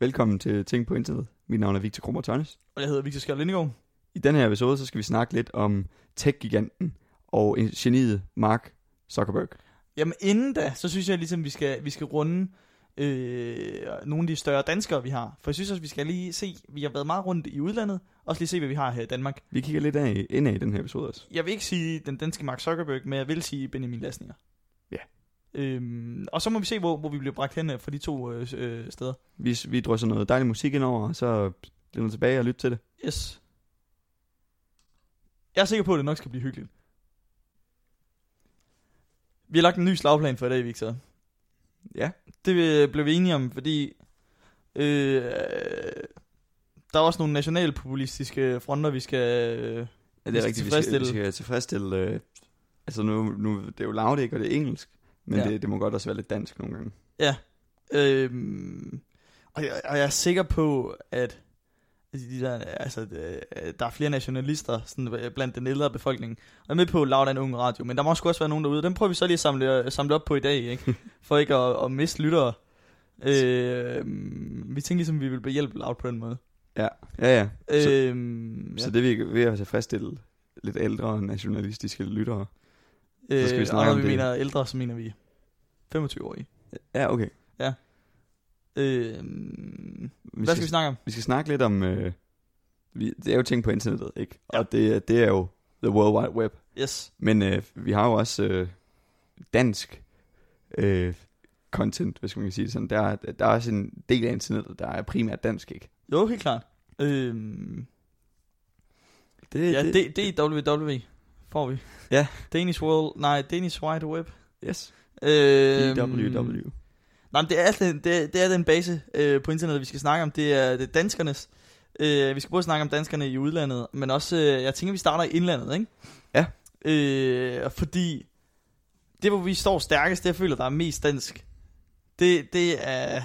Velkommen til Ting på Internet. Mit navn er Victor Krummer Tørnes. Og jeg hedder Victor Skjær Lindegaard. I den her episode, så skal vi snakke lidt om tech-giganten og en- geniet Mark Zuckerberg. Jamen inden da, så synes jeg ligesom, vi skal, vi skal runde øh, nogle af de større danskere, vi har. For jeg synes også, vi skal lige se, vi har været meget rundt i udlandet, også lige se, hvad vi har her i Danmark. Vi kigger lidt af, indad i den her episode også. Jeg vil ikke sige den danske Mark Zuckerberg, men jeg vil sige Benjamin Lassninger. Ja. Øhm, og så må vi se, hvor, hvor vi bliver bragt hen øh, fra de to øh, øh, steder. Vi, vi drysser noget dejlig musik ind over, og så bliver tilbage og lytte til det. Yes. Jeg er sikker på, at det nok skal blive hyggeligt. Vi har lagt en ny slagplan for i dag, Victor. Ja. Det øh, blev vi enige om, fordi øh, der er også nogle nationalpopulistiske fronter, vi skal... Øh, Ja, det Vi er skal rigtigt. Vi skal, vi tilfredsstille- skal tilfredsstille... Øh, altså nu, nu, det er jo lavdæk, og det er engelsk. Men Ja. ja. det, det må godt også være lidt dansk nogle gange. øh, og, jeg, og jeg er sikker på, at at de der, altså, øh, der er flere nationalister sådan, øh, blandt den ældre befolkning. Jeg er med på, at Laura er en ung radio, men der må sgu også være nogen derude. Dem prøver vi så lige at samle, øh, samle op på i dag, ikke? for ikke at, at miste lyttere. Øh, vi tænkte ligesom, at vi ville behjælpe Loud på den måde. Ja, ja. Øh, Så- ja. Så det vi er ved at tilfredsstille lidt ældre nationalistiske lyttere. så skal vi Øh, snakke og når om vi det. mener ældre, så mener vi 25-årige. Ja, okay. Øh, Vi hvad skal vi snakke om? vi skal snakke lidt om... Øh, vi, det er jo ting på internettet, ikke? Ja. Og det, er- det er jo the world wide web. Yes. Men øh, vi har jo også øh, dansk øh, content, hvis man kan sige det sådan. Der, er- der er også en del af internettet, der er primært dansk, ikke? Jo, helt klart. Øh, Det, Ja, det, det er www, E. får vi. Ja. Danish World, nej, Danish Wide Web. Yes, Øhm, DWW. Nej, men det er, den- det, er- det er den base øh, på internettet, vi skal snakke om. Det er, det er danskernes. Øh, vi skal både snakke om danskerne i udlandet, men også, øh, jeg tænker, vi starter i indlandet, ikke? Ja. Øh, fordi det, hvor vi står stærkest, det jeg føler, der er mest dansk, det, det er,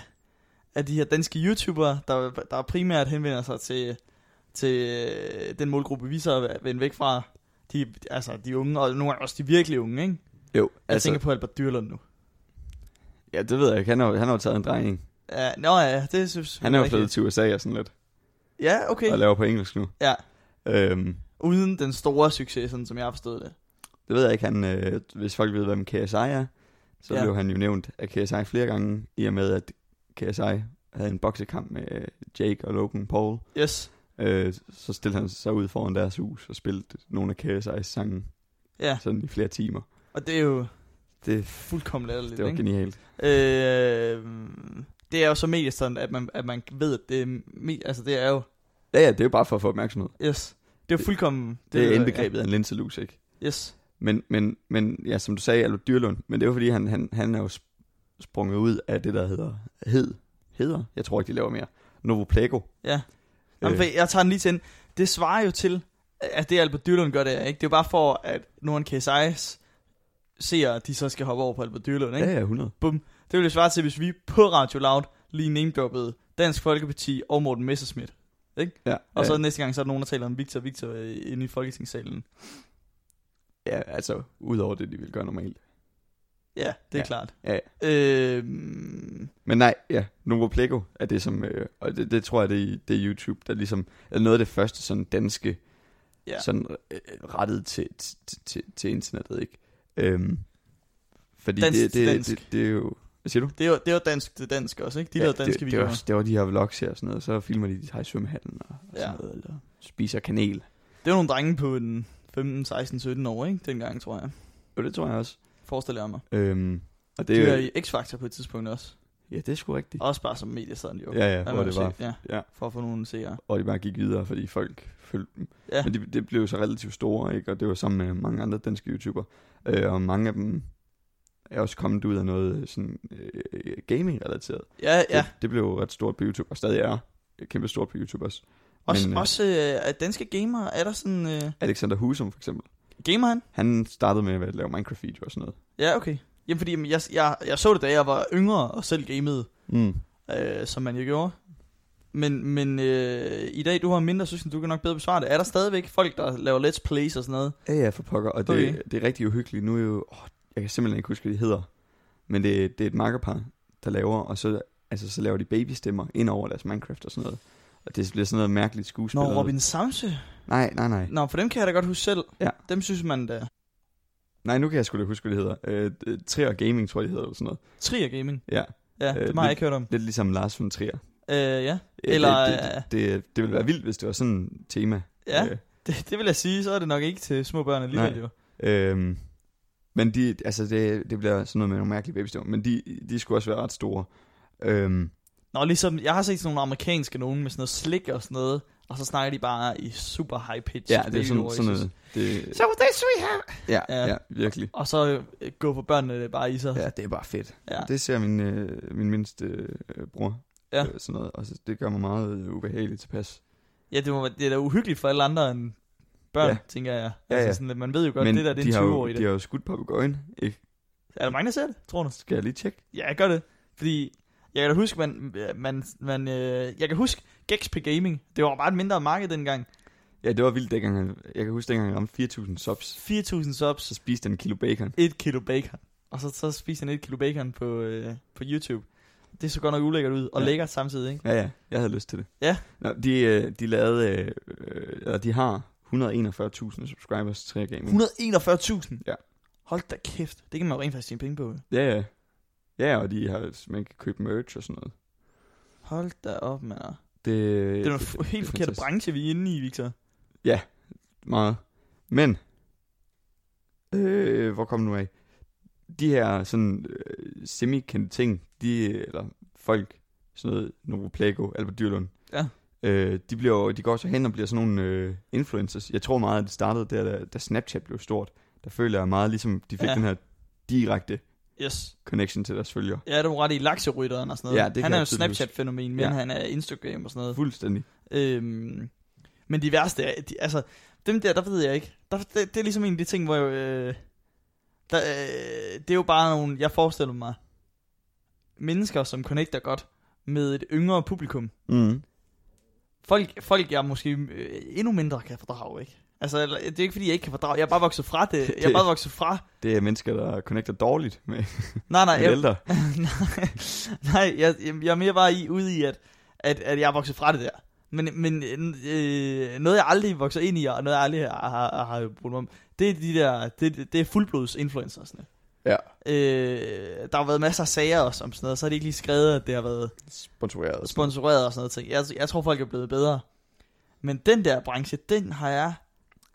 er de her danske YouTubere, der, der primært henvender sig til, til øh, den målgruppe, vi så er vendt væk fra. De, altså, de unge, og nogle gange også de virkelig unge, ikke? Jo, Jeg altså, tænker på Albert Dyrlund nu. ja, det ved jeg ikke. Han har, jo- han har jo taget en drejning. Ja, nå ja, det synes Han er jo rigtigt. flyttet til USA og sådan lidt, Ja, okay. og laver på engelsk nu. Ja. Øhm, Uden den store succes, sådan som jeg har forstået det. Det ved jeg ikke, han, øh, hvis folk ved, hvem KSI er, så Ja. ja. blev han jo nævnt af KSI flere gange, i og med, at KSI havde en boksekamp med øh, Jake og Logan Paul. Yes. Øh, så stillede han sig ud foran deres hus og spillede nogle af KSI's sange Ja, sådan i flere timer. og det er jo Det, fuldkommen latterligt, det var ikke? genialt. Øh, det er jo så mediestand, at man, at man ved, at det er, me- altså det er jo, Ja, ja, det er jo bare for at få opmærksomhed. yes, det er jo Det- fuldkommen... Det er indbegrebet af en linselus, ikke? Ja, yes, Men, men, men ja, som du sagde, Albert Dyrlund, men det var fordi, han, han, han er jo sp- sprunget ud af det, der hedder, hed, hedder, jeg tror ikke, de laver mere, Novoplego. Øh, ja. Jamen, for jeg tager den lige til ende. Det svarer jo til, at det Albert Dyrlund gør, det er, ikke? Det er jo bare for, at nogle KSI's ser, at de så skal hoppe over på Albert Dyrlund, ikke? ja, ja, 100. Det ville svare til, hvis vi på Radio Loud lige namedroppede Dansk Folkeparti og Morten Messerschmidt. Ja, Og så ja. næste gang, så er der nogen, der taler om Victor Victor øh, inde i Folketingssalen. Ja, altså, udover det, de ville gøre normalt. Ja, det er Ja. klart. Ja, Øh, Men nej, ja, Novo Plego er det som, øh, og det, det tror jeg, det er, det er YouTube, der ligesom er noget af det første sådan danske, Ja. ja. sådan øh, rettet til, til, til, til internettet, ikke? Øhm, fordi Dansk det, til det, det, dansk. det, det er jo, hvad siger du? det er jo det er jo dansk til dansk også, ikke? De ja, der danske det, det, videoer. var, det var de her vlogs her og sådan noget, så filmer de, de tager i svømmehallen og, og sådan Ja. noget, eller spiser kanel. Det var nogle drenge på en 15, 16, 17 år, ikke? Dengang, tror jeg. Og det tror jeg også. Forestiller jeg mig. Øhm, og Det det er er jo, i X-Factor på et tidspunkt også. ja, det er sgu rigtigt. Også bare som mediestaden jo. Ja, ja, Der hvor må det man var. se- Ja, Ja. for at få nogle seere. Og de bare gik videre, fordi folk følte dem. Ja. Men det, det blev jo så relativt store, ikke? og det var sammen med mange andre danske YouTubere. Øh, og mange af dem er også kommet ud af noget sådan, øh, gaming-relateret. Ja, ja. Det, det blev jo ret stort på YouTube, og stadig er øh, kæmpe stort på YouTube også. Også, men, øh, også øh, at danske gamere, er der sådan... Øh, Alexander Husum for eksempel, gamer han? han startede med at lave Minecraft-videoer og sådan noget. Ja, okay. Jamen, fordi jamen, jeg, jeg, jeg så det, da jeg var yngre og selv gamede, Mm. øh, som man jo gjorde. Men, men øh, i dag, du har mindre, synes jeg, du kan nok bedre besvare det. Er der stadigvæk folk, der laver let's plays og sådan noget? Ja, ja, for pokker, og det, Okay. okay. det er rigtig uhyggeligt. Nu er jo, åh, jeg kan simpelthen ikke huske, hvad de hedder, men det, det er et makkerpar, der laver, og så altså så laver de babystemmer ind over deres Minecraft og sådan noget. Og det bliver sådan noget mærkeligt skuespil. Nå, Robin Samse. Nej, nej, nej. Nå, for dem kan jeg da godt huske selv. Ja. Dem synes man da. Nej, nu kan jeg sgu da huske, hvad det hedder. Øh, øh, Trier Gaming, tror jeg, det hedder, eller sådan noget. Trier Gaming. Ja, Ja, Øh, det har jeg ikke hørt om. lidt ligesom Lars von Trier. Øh, ja. Øh, Eller, det, det, det, det, det ville være vildt, hvis det var sådan et tema. Ja, Øh, det, det vil jeg sige, så er det nok ikke til små børn alligevel Nej. jo. Øhm, men de, altså det, det bliver sådan noget med nogle mærkelige babystemmer, men de, de skulle også være ret store. Øhm, Nå, ligesom, jeg har set sådan nogle amerikanske nogen med sådan noget slik og sådan noget, og så snakker de bare i super high pitch. ja, det er sådan, sådan noget. Det, So this we have. ja, Ja. ja, ja, virkelig. Og så øh, gå for børnene det bare i sig. Ja, det er bare fedt. Ja. Det ser min, øh, min mindste øh, bror. Ja. Øh, sådan noget, og så, det gør mig meget øh, ubehageligt tilpas. Ja, det, må, være- det er da uhyggeligt for alle andre end børn, ja. Ja. tænker jeg. Ja, Altså, ja. Sådan, lidt- man ved jo godt, men det der det de, er har en jo, 20-årig. de det. har jo skudt papegøjen, ikke? Er der mange, der ser det, tror du? Skal jeg lige tjekke? Ja, jeg gør det. Fordi jeg kan da huske, man, man, man øh, jeg kan huske Gex på Gaming. Det var bare et mindre marked dengang. Ja, det var vildt dengang. han- Jeg kan huske, dengang han ramte 4.000 subs, 4.000 så subs, spiste han en kilo bacon. 1 kilo bacon. Og så, så spiste han 1 kilo bacon på, øh, på YouTube. Det så godt nok ulækkert ud, og ja. Ja. lækkert samtidig, ikke? Ja, ja, jeg havde lyst til det. Ja. Nå, de, øh, de lavede, øh, øh, eller de har 141.000 subscribers til Trier Gaming. 141.000? Mm. Ja. Hold da kæft. Det kan man jo rent faktisk tjene penge på. jo. Ja, ja. Ja, og de har, man kan købe merch og sådan noget. Hold da op, mand. Det, Det er en helt er forkert fantastisk. branche, vi er inde i, Victor. meget. Men, øh, hvor kom den nu af? De her sådan øh, semikendte ting, de, øh, eller folk, sådan noget, Novo Plago, Albert Dyrlund, Ja. øh, de, bliver, jo- de går så hen og bliver sådan nogle øh, influencers. Jeg tror meget, at det startede der, da, da Snapchat blev stort. Der føler jeg meget ligesom, de fik Ja. ja. den her direkte Yes. connection til deres følgere. Ja, det var ret i lakserytteren og sådan noget. Ja, det kan han er jeg jo et tydeligt huske. Snapchat-fænomen, men ja. Ja. han er Instagram og sådan noget. Fuldstændig. Øhm, men de værste er, de, altså, dem der, der ved jeg ikke. Der, det, det er ligesom en af de ting, hvor jeg, øh, der, øh, det er jo bare nogle, jeg forestiller mig, mennesker, som connecter godt med et yngre publikum. Mm. Folk, folk jeg måske øh, endnu mindre kan fordrage, ikke? Altså, eller, det er ikke fordi, jeg ikke kan fordrage. Jeg er bare vokset fra det. Jeg er bare vokset fra. Det er mennesker, der connecter dårligt med, Ah, Nej, nej. med Jeg, ældre. nej, nej jeg, jeg er mere bare i, ude i, at, at, at jeg er vokset fra det der. Men, men øh, noget, jeg aldrig vokser ind i, og noget, jeg aldrig har, har, har jo brugt mig om, det er de der, det, det er fuldblods influencersne. Ja. Øh, der har været masser af sager også om sådan noget, så har de ikke lige skrevet, at det har været Sponsoreret. sponsoreret og sådan noget ting. Jeg, jeg tror, folk er blevet bedre. Men den der branche, den har jeg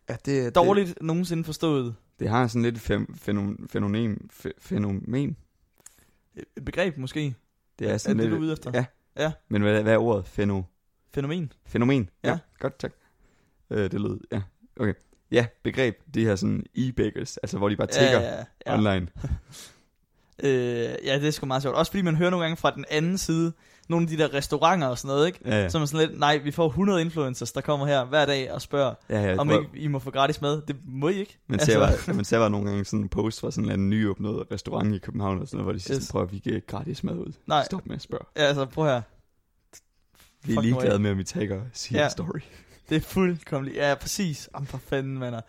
Ja, det, er dårligt nogensinde forstået. Det har sådan lidt et fæ- fænomen, fænomen, fæ- fænomen. Et begreb måske. Det er sådan er det, lidt, du er ude efter? Ja. Ja. Men hvad, hvad er ordet? Fæno, Fænomen. fænomen? Ja. Godt, tak. Øh, det lød, ja. Okay. Ja, begreb. De her sådan e-bakers, altså hvor de bare tigger ja, ja, ja. online. Øh, ja, det er sgu meget sjovt. Også fordi man hører nogle gange fra den anden side, nogle af de der restauranter og sådan noget, ikke? Ja, ja. Ja. Som er sådan lidt, nej, vi får 100 influencers, der kommer her hver dag og spørger, ja, ja ja, om hvor- ikke altså- I må få gratis mad. Det må I ikke. man, ser bare, man ser bare nogle gange sådan en post fra sådan en eller anden nyåbnet restaurant i København, og sådan noget, hvor de siger, Yes. yes. prøv at vi giver gratis mad ud. Nej. Stop med at spørge. ja, altså, prøv her. Vi Fuck nu er af. ligeglade med, om I tager sin Ja. ja. story. Det er fuldkommen Ja, præcis. Jamen for fanden, mander.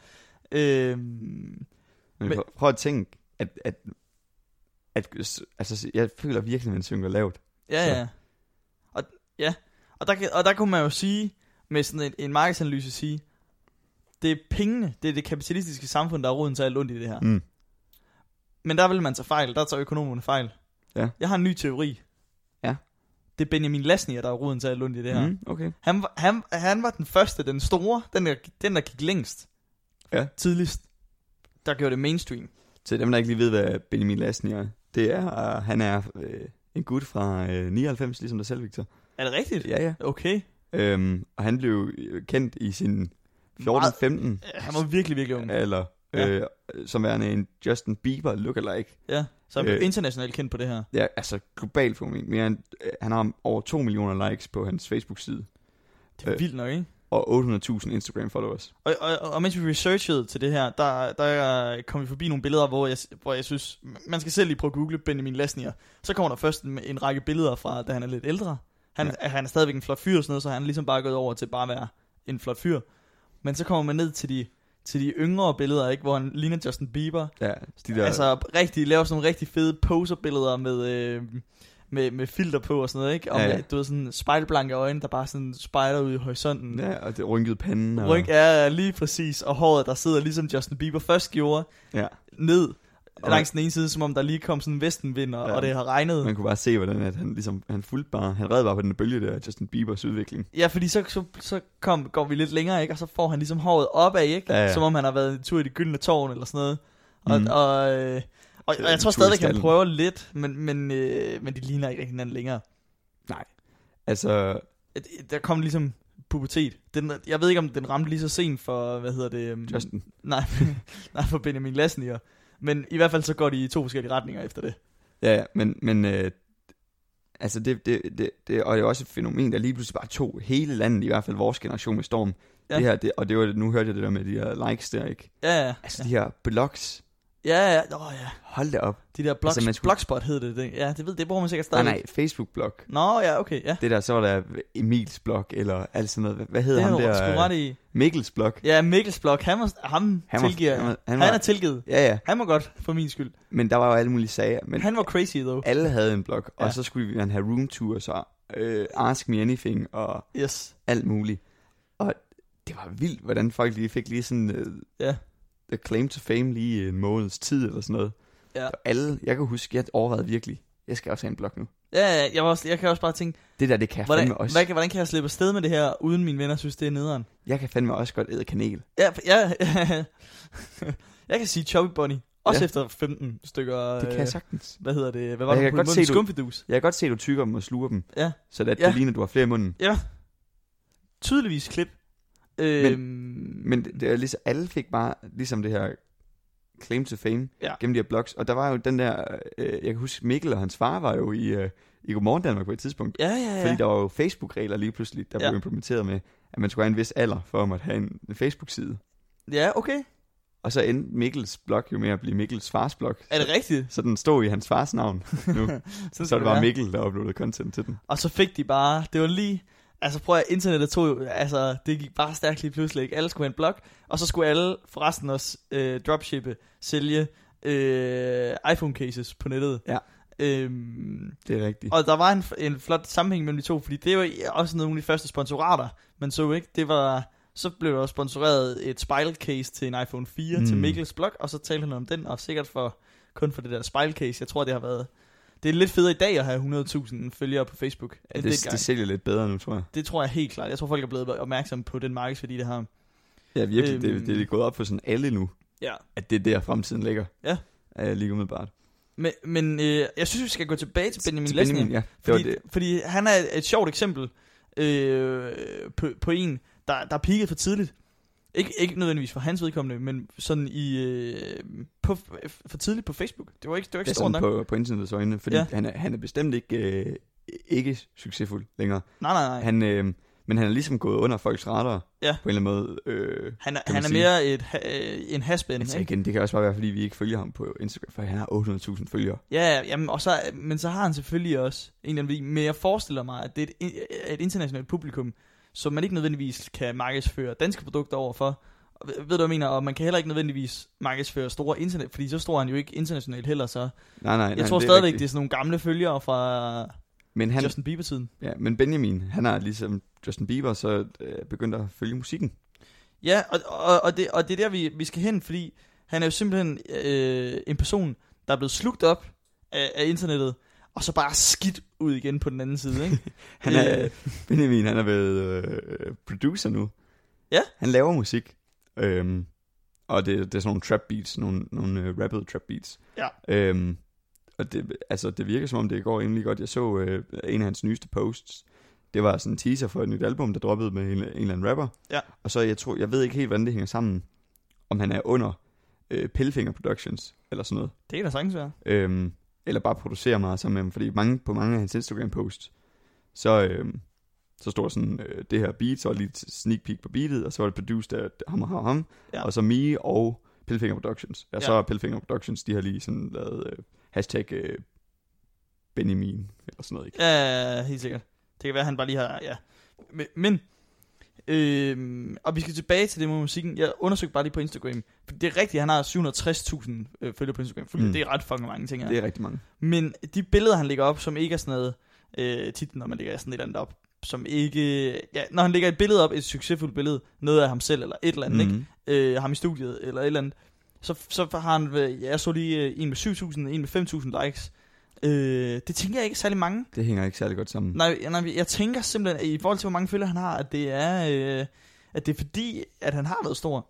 Øhm, Men, Men- Men... prøv at tænke, at, at, at, altså, jeg føler virkelig, at man synker lavt. ja, Så. ja. Og, ja. Og, der, kan- og der kunne man jo sige, med sådan en, en markedsanalyse sige, det er pengene, det er det kapitalistiske samfund, der er roden til alt ondt i det her. Mm. Men der vil man tage fejl. Der tager økonomerne fejl. Ja. Jeg har en ny teori. Ja. Det er Benjamin Lasnier, der er roden til alt ondt i det her. Mm. Mm, okay. Han, var- han, han var den første, den store, den der, den der gik længst. Ja. Tidligst. Der gjorde det mainstream. Til dem, der ikke lige ved, hvad Benjamin Lassen er, det er, uh, han er øh, en gut fra øh, 99, ligesom dig selv, Victor. Er det rigtigt? Ja, ja. Okay. Øhm, og han blev øh, kendt i sin Meget- 14-15 Ja, Han var virkelig, virkelig ung. alder, Ja. øh, som værende en Justin Bieber lookalike. Ja. Så han blev Øh. internationalt kendt på det her. Ja, altså globalt fænomen. Mere end, øh, han har over 2 millioner likes på hans Facebook-side, Det er Øh. vildt nok, ikke? og 800.000 Instagram-followers. Og, og, og mens vi researchede til det her, der, der kom vi forbi nogle billeder, hvor jeg, hvor jeg synes, man skal selv lige prøve at google Benjamin Lasnier. Så kommer der først en, en række billeder fra, da han er lidt ældre. Han, ja. han er stadigvæk en flot fyr og sådan noget, så han er ligesom bare gået over til bare at være en flot fyr. Men så kommer man ned til de, til de yngre billeder, ikke, hvor han ligner Justin Bieber. Ja, de Ja. der, altså, Altså rigtig, laver sådan nogle rigtig fede poserbilleder med... Øh, med, med filter på og sådan noget, ikke? Og Ja, ja, ja. med, du ved, sådan spejlblanke øjne, der bare sådan spejler ud i horisonten. Ja, og det rynkede panden. Og, Ryg er lige præcis, og håret, der sidder ligesom Justin Bieber først gjorde, Ja, ned Og- langs den ene side, som om der lige kom sådan en vestenvind, og, Ja. ja. og det har regnet. man kunne bare se, hvordan at han, ligesom, han fulgte bare, han red bare på den bølge der, Justin Biebers udvikling. Ja, fordi så, så, så kom, går vi lidt længere, ikke? Og så får han ligesom håret opad, ikke? Ja, ja. Som om han har været en tur i det gyldne tårn eller sådan noget. Og, Mhm. mm. og, øh, og, og jeg En tror tur i stadigvæk, han stalden. prøver lidt, men, men, øh, men de ligner ikke rigtig hinanden længere. Altså, Et- Der kom ligesom pubertet. Den, jeg ved ikke, om den ramte lige så sent for, hvad hedder det? øhm, Justin. Nej, nej for Benjamin Lassnier. Men i hvert fald så går de i to forskellige retninger efter det. Ja, ja, men, men øh, altså det, det, det, det, og det er også et fænomen, der lige pludselig bare tog hele landet, i hvert fald vores generation med storm. Ja. Ja. Det her, det, og det var, nu hørte jeg det der med de her likes der, ikke? Ja, ja. Altså de her blogs, Ja, ja. Nå, ja. hold da op. De der blogs, Altså, man altså, skulle- blogspot hed det. det. Ja, det ved det bruger man sikkert Nej, stadig. nej, Facebook-blog. Nå, ja, okay, ja. Det der, så var der Emils blog, eller alt sådan noget. Hvad, hvad hedder Det er ham du sgu der? Øh, ret i. Mikkels blog. Ja, Mikkels Blok, han, var, ham, Han han var- tilgiver. han var- Han, var, han han, var- er tilgivet. Ja, ja, Han må godt, for min skyld. men der var jo alle mulige sager. Men Han var crazy, though. alle havde en blog, ja. Ja. og så skulle man have room tours og øh, ask me anything og Yes. alt muligt. Og det var vildt, hvordan folk lige fik lige sådan øh, Ja. the claim to fame lige i en måneds tid eller sådan noget. Ja. Og alle, jeg kan huske, jeg overvejede virkelig, jeg skal også have en blog nu. Ja, ja, jeg, var også, jeg kan også bare tænke, Det der, det kan jeg hvordan, fandme også. hvad, hvordan kan jeg slippe afsted med det her, uden mine venner synes, det er nederen? Jeg kan fandme også godt æde kanel. Ja, ja, jeg kan sige Chubby Bunny, også Ja. ja. efter 15 stykker... Det kan øh, jeg sagtens. Hvad hedder det? Hvad Jeg var kan det? godt På se, en du- skumfidus. Jeg kan godt se, at du tykker dem og sluger dem, Ja. så at Ja. det ligner, at du har flere i munden. Tydeligvis klip. Øhm, Men det, det er ligesom, alle fik bare ligesom det her claim to fame ja. Ja. gennem de her blogs. Og der var jo den der, øh, jeg kan huske Mikkel og hans far var jo i, øh, i Godmorgen Danmark på et tidspunkt. Ja, ja, ja. Fordi der var jo Facebook-regler lige pludselig, der ja. Ja. blev implementeret med, at man skulle have en vis alder for at måtte have en, en Facebook-side. Ja, okay. Og så endte Mikkels blog jo med at blive Mikkels fars blog. Er det rigtigt? Så den stod i hans fars navn nu. Sådan så skal det var være. Mikkel, der uploadede content til den. Og så fik de bare, det var lige, altså prøv at internettet tog jo, altså det gik bare stærkt lige pludselig, ikke? Alle skulle have en blog, og så skulle alle forresten også øh, dropshippe, sælge øh, iPhone cases på nettet. Ja. Øhm, Det er rigtigt. og der var en, en flot sammenhæng mellem de to, fordi det var også nogle af de første sponsorater, man så ikke, det var, så blev der også sponsoreret et spejlcase til en iPhone 4 mm. til Mm. Mikkels blog, og så talte han om den, og sikkert for, kun for det der spejlcase, jeg tror det har været, det er lidt federe i dag at have 100.000 følgere på Facebook. Ja, end det, dengang. det sælger lidt bedre nu, tror jeg. Det tror jeg helt klart. Jeg tror, folk er blevet opmærksomme på den markedsværdi, det har. Ja, virkelig. Øhm. Det, Øhm. det er gået op for sådan alle nu, Ja. at det er der fremtiden ligger. Ja. Uh, lige umiddelbart. Men, men øh, jeg synes, vi skal gå tilbage til Benjamin Til Lassner. ja. Det Fordi, var det. fordi han er et, et sjovt eksempel øh, på, på en, der, der peakede for tidligt. Ikke, ikke nødvendigvis for hans vedkommende, men sådan i øh, på, for tidligt på Facebook. Det var ikke, det var ikke Det er stort sådan på, nok. på internettets øjne, fordi ja. Ja. han, er, han er bestemt ikke, øh, ikke succesfuld længere. Nej, nej, nej. Han, Han, øh, men han er ligesom gået under folks radar Ja. på en eller anden måde. Øh, han, er, kan man han er sige. mere et, ha- øh, en hasband. altså igen, det kan også bare være, fordi vi ikke følger ham på Instagram, for han har 800.000 følgere. Ja, jamen, og så, men så har han selvfølgelig også en eller anden vid- men jeg forestiller mig, at det er et, et internationalt publikum, som man ikke nødvendigvis kan markedsføre danske produkter overfor. Og Ved ved du, hvad jeg mener? Og man kan heller ikke nødvendigvis markedsføre store internet, fordi så står han jo ikke internationalt heller, så. Nej, nej, Jeg nej, tror det er stadigvæk, det er rigtigt. sådan nogle gamle følgere fra Men, han, han... Justin Bieber-tiden. ja, men Benjamin, han har ligesom Justin Bieber, så øh, begyndt at følge musikken. Ja, og, og, og, det, og det er der, vi, vi skal hen, fordi han er jo simpelthen øh, en person, der er blevet slugt op af, af internettet, og så bare skidt ud igen på den anden side, ikke? Han er, Øh. Benjamin, han er blevet øh, producer nu. Ja. Han laver musik. Øhm, og det, det er sådan nogle trap beats, nogle, nogle øh, rappede trap beats. Ja. Øhm, og det, altså, det virker som om, det går egentlig godt. Jeg så øh, en af hans nyeste posts. Det var sådan en teaser for et nyt album, der droppede med en, en eller anden rapper. Ja. Og så, jeg tror, jeg ved ikke helt, hvordan det hænger sammen. Om han er under øh, Pillfinger Productions, eller sådan noget. det kan da sagtens være. Øhm, eller bare producere meget sammen med ham, fordi mange, på mange af hans Instagram-posts, så, øhm, så står der sådan, øh, det her beat, så er lige et sneak peek på beatet, og så var det produced af ham og ham, og ham ja. Ja. og så Mie og Pillfinger Productions. Ja, så Ja. er Pillfinger Productions, de har lige sådan lavet øh, hashtag øh, Benjamin, eller sådan noget, ikke? Ja, helt sikkert. Det kan være, at han bare lige har... Ja. Men, men Øhm, og vi skal tilbage til det med musikken. Jeg undersøgte bare lige på Instagram. For det er rigtigt, han har 760.000 øh, følgere på Instagram. Mm. Mm. Det er ret fucking mange ting. Det Ja. er rigtig mange. Men de billeder, han lægger op, som ikke er sådan noget... Øh, tit, når man lægger sådan et eller andet op, som ikke... Ja, når han lægger et billede op, et succesfuldt billede, noget af ham selv eller et eller andet, mm. Mhm. ikke? Øh, ham i studiet eller et eller andet, så, så har han... øh, Ja, jeg så lige øh, en med 7.000, en med 5.000 likes. Øh, det tænker jeg ikke er særlig mange. Det hænger ikke særlig godt sammen. Nej, nej, jeg tænker simpelthen, at i forhold til, hvor mange følgere han har, at det er, øh, at det er fordi, at han har været stor.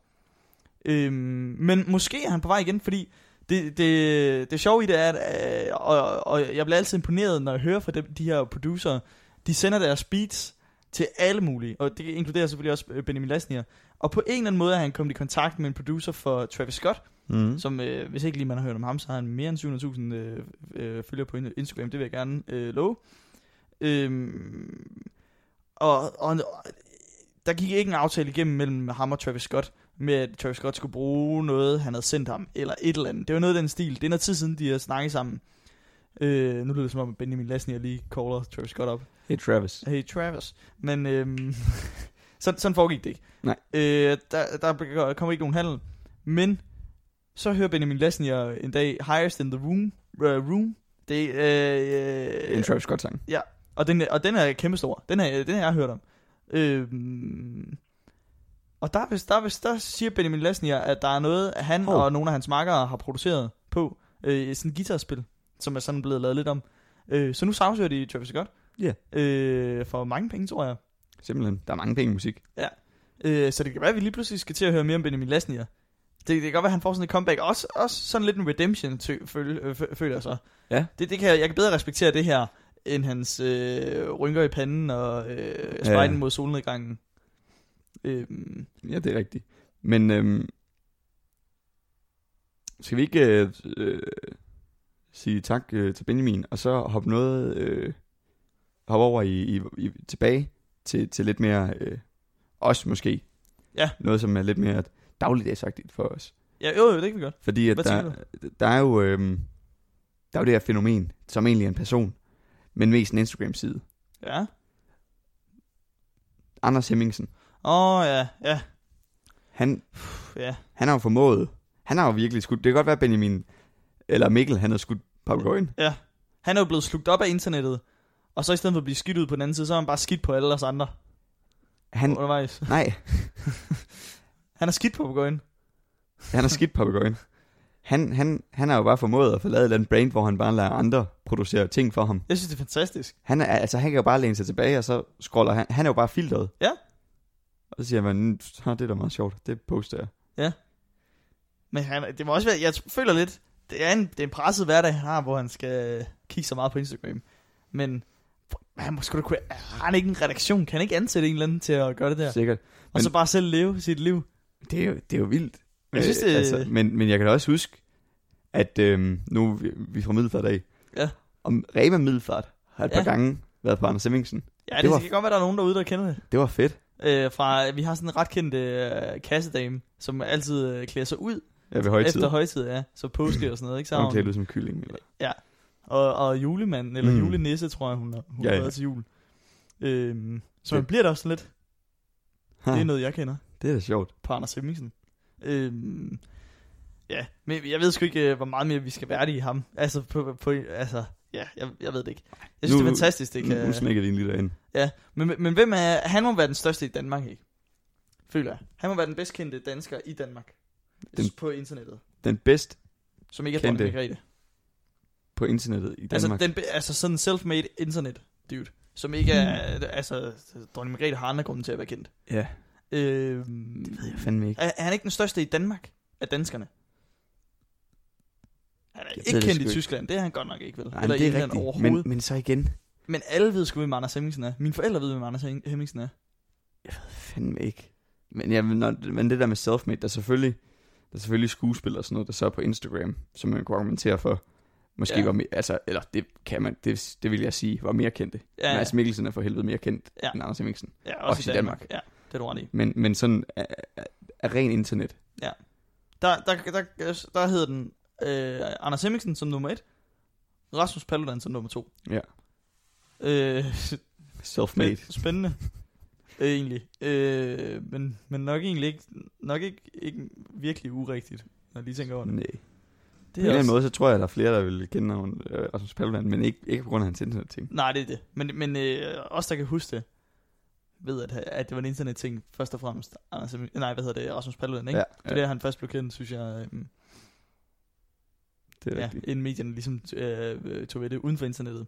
Øhm, men måske er han på vej igen, fordi det, det, det sjove i det er, at, øh, og, og jeg bliver altid imponeret, når jeg hører fra dem, de her producer, de sender deres beats til alle mulige, og det inkluderer selvfølgelig også øh, Benjamin Lassnier. Og på en eller anden måde er han kommet i kontakt med en producer for Travis Scott, Mm. som øh, hvis ikke lige man har hørt om ham, så har han mere end 700.000 øh, øh, følgere på in- Instagram, det vil jeg gerne øh, love. Øhm, og, og, og der gik ikke en aftale igennem mellem ham og Travis Scott, med at Travis Scott skulle bruge noget, han havde sendt ham, eller et eller andet. Det var noget af den stil. Det er noget tid siden, de har snakket sammen. Øh, nu lyder det som om, at Benjamin Lassnier lige caller Travis Scott op. Hey Travis. Hey Travis. Men øhm, sådan, sådan foregik det ikke. Nej. Øh, der, der kom ikke nogen handel. Men så hører Benjamin Lassnier en dag Highest in the Room. Uh, room. Det, Det er øh, en øh, Travis Scott-sang. og, den, og den er kæmpestor. Den har den har jeg hørt om. Øhm, og der, er vist- der, er vist- der siger Benjamin Lassnier, at der er noget, at han Hov. og nogle af hans makkere har produceret på. Øh, sådan et guitarspil, som er sådan blevet lavet lidt om. Øh, så nu sagsøger de Travis Scott. Ja. Øh, for mange penge, tror jeg. Simpelthen. Der er mange penge i musik. Øh, så det kan være, at vi lige pludselig skal til at høre mere om Benjamin Lassnier. Det, det kan godt være, at han får sådan et comeback. Også, også sådan lidt en redemption, tø, føl, øh, fø- føler jeg så. Ja. Det, det kan, jeg jeg kan bedre respektere det her, end hans øh, rynker i panden og øh, spejden Ja. mod solnedgangen. Øh, Ja, det er rigtigt. Men øhm, skal vi ikke øh, øh, sige tak øh, til Benjamin, og så hoppe noget øh, hoppe over i, i, i tilbage til, til lidt mere øh, os måske. Ja. Noget, som er lidt mere dagligdagsagtigt for os. ja, jo, jo, det kan vi godt. Fordi at Hvad der, der er jo øhm, der er jo det her fænomen, som egentlig er en person, men mest en Instagram-side. Ja. Anders Hemmingsen, Åh, oh, ja, ja, han, pff, ja. han har jo formået, han har jo virkelig skudt, det kan godt være Benjamin, eller Mikkel, han har skudt papagøjen. Han er jo blevet slugt op af internettet, og så i stedet for at blive skidt ud på den anden side, så er han bare skidt på alle os andre Han, undervejs. nej, Han er skidt på begøjen. han har skidt papagøjen. Han, han, han har jo bare formået at få lavet et eller andet brand, hvor han bare lader andre producere ting for ham. Jeg synes, det er fantastisk. Han, er, altså, han kan jo bare læne sig tilbage, og så scroller han. Han er jo bare filtret. Ja. Og så siger man, "Nå, det er da meget sjovt, det poster jeg. Men han, det må også være, jeg føler lidt, det er, en, det er en presset hverdag, han har, hvor han skal kigge så meget på Instagram. Men han må sgu da kunne, har han ikke en redaktion? Kan han ikke ansætte en eller anden til at gøre det der? Ja. Sikkert. Og så bare selv leve sit liv. Det er jo, det er jo vildt. Jeg synes, Øh, det- men, men jeg kan da også huske, at øhm, nu er vi- vi er fra Middelfart af. Ja. Om Rema Middelfart har et Ja. par gange været på Anders Hemmingsen. Det Ja, det, det var- kan godt være, der er nogen derude, der kender det. Det var fedt. Øh, fra, vi har sådan en ret kendt øh, kassedame, som altid øh, klæder sig ud Ja, ved højtid. efter højtid, ja. Så påske og sådan noget, ikke? Så har Hun hun, klædte ud som kylling. Eller. og, og julemanden, eller mm. Mm. julenisse, tror jeg, hun har hun Ja, ja, ja. ja. til jul. Øhm, så Ja. Ah. man bliver da også sådan lidt. Ha, Det er noget, jeg kender. det er da sjovt. på Anders Hemmingsen. Øhm, ja, men jeg ved sgu ikke, øh, hvor meget mere vi skal være i ham. Altså, på, på, altså ja, jeg, jeg ved det ikke. Jeg synes, Nu- det er fantastisk, det Nu, nu kan... smækker vi en lille ind. Men, men, men hvem er... Han må være den største i Danmark, ikke? Føler jeg. Han må være den bedst kendte dansker i Danmark. Den... Den- På internettet. Den bedst Som ikke er Kendte dronning Margrethe. på internettet i Danmark. Altså, den, be- altså sådan en self-made internet dude. Som ikke er... Altså, dronning Margrethe har andre grunde til at være kendt. Hmm. Ja, Øhm, det ved jeg fandme ikke. Er, er han ikke den største i Danmark af danskerne? Han er Jeg ved ikke det kendt sgu i ikke. Tyskland, det er han godt nok ikke, vel? Nej, Eller men det i er England rigtigt. Men, overhovedet. Men, men så igen, men alle ved sgu, hvem Anders Hemmingsen er. Mine forældre ved, hvem Anders Hem- Hemmingsen er. fandme ikke. Men, ja, men når, men det der med selfmade, der er selvfølgelig, der er selvfølgelig skuespillere og sådan noget, der så er på Instagram, som man kunne argumentere for. Måske Ja. ja. var mere, altså, eller det kan man, det, det vil jeg sige, var mere kendte. Ja, Ja. ja, Mads Mikkelsen er for helvede mere kendt Ja. ja. end Anders Hemmingsen. ja også, også i i Danmark. Ja, det er du ret i. Men, men sådan af, af, af ren internet. Der, der, der, der, der hedder den øh, Anders Hemmingsen som nummer et, Rasmus Paludan som nummer to. Ja. Øh, Selfmade. spændende. øh, egentlig. Øh, men, men nok egentlig ikke, nok ikke, ikke virkelig urigtigt, når jeg lige tænker over det. Nej. På en det eller anden er også, måde, så tror jeg, at der er flere, der vil kende navnet øh, Rasmus Paludan, men ikke, ikke på grund af hans internetting. nej, det er det. Men, men øh, os, der kan huske det, ved, at, at det var en internetting, først og fremmest. Anders, Emil- nej, hvad hedder det? Rasmus Paludan, ikke? Ja, ja. Det er der, han først blev kendt, synes jeg. Øh, det er ja, rigtigt. inden medierne ligesom øh, øh, tog ved det uden for internettet.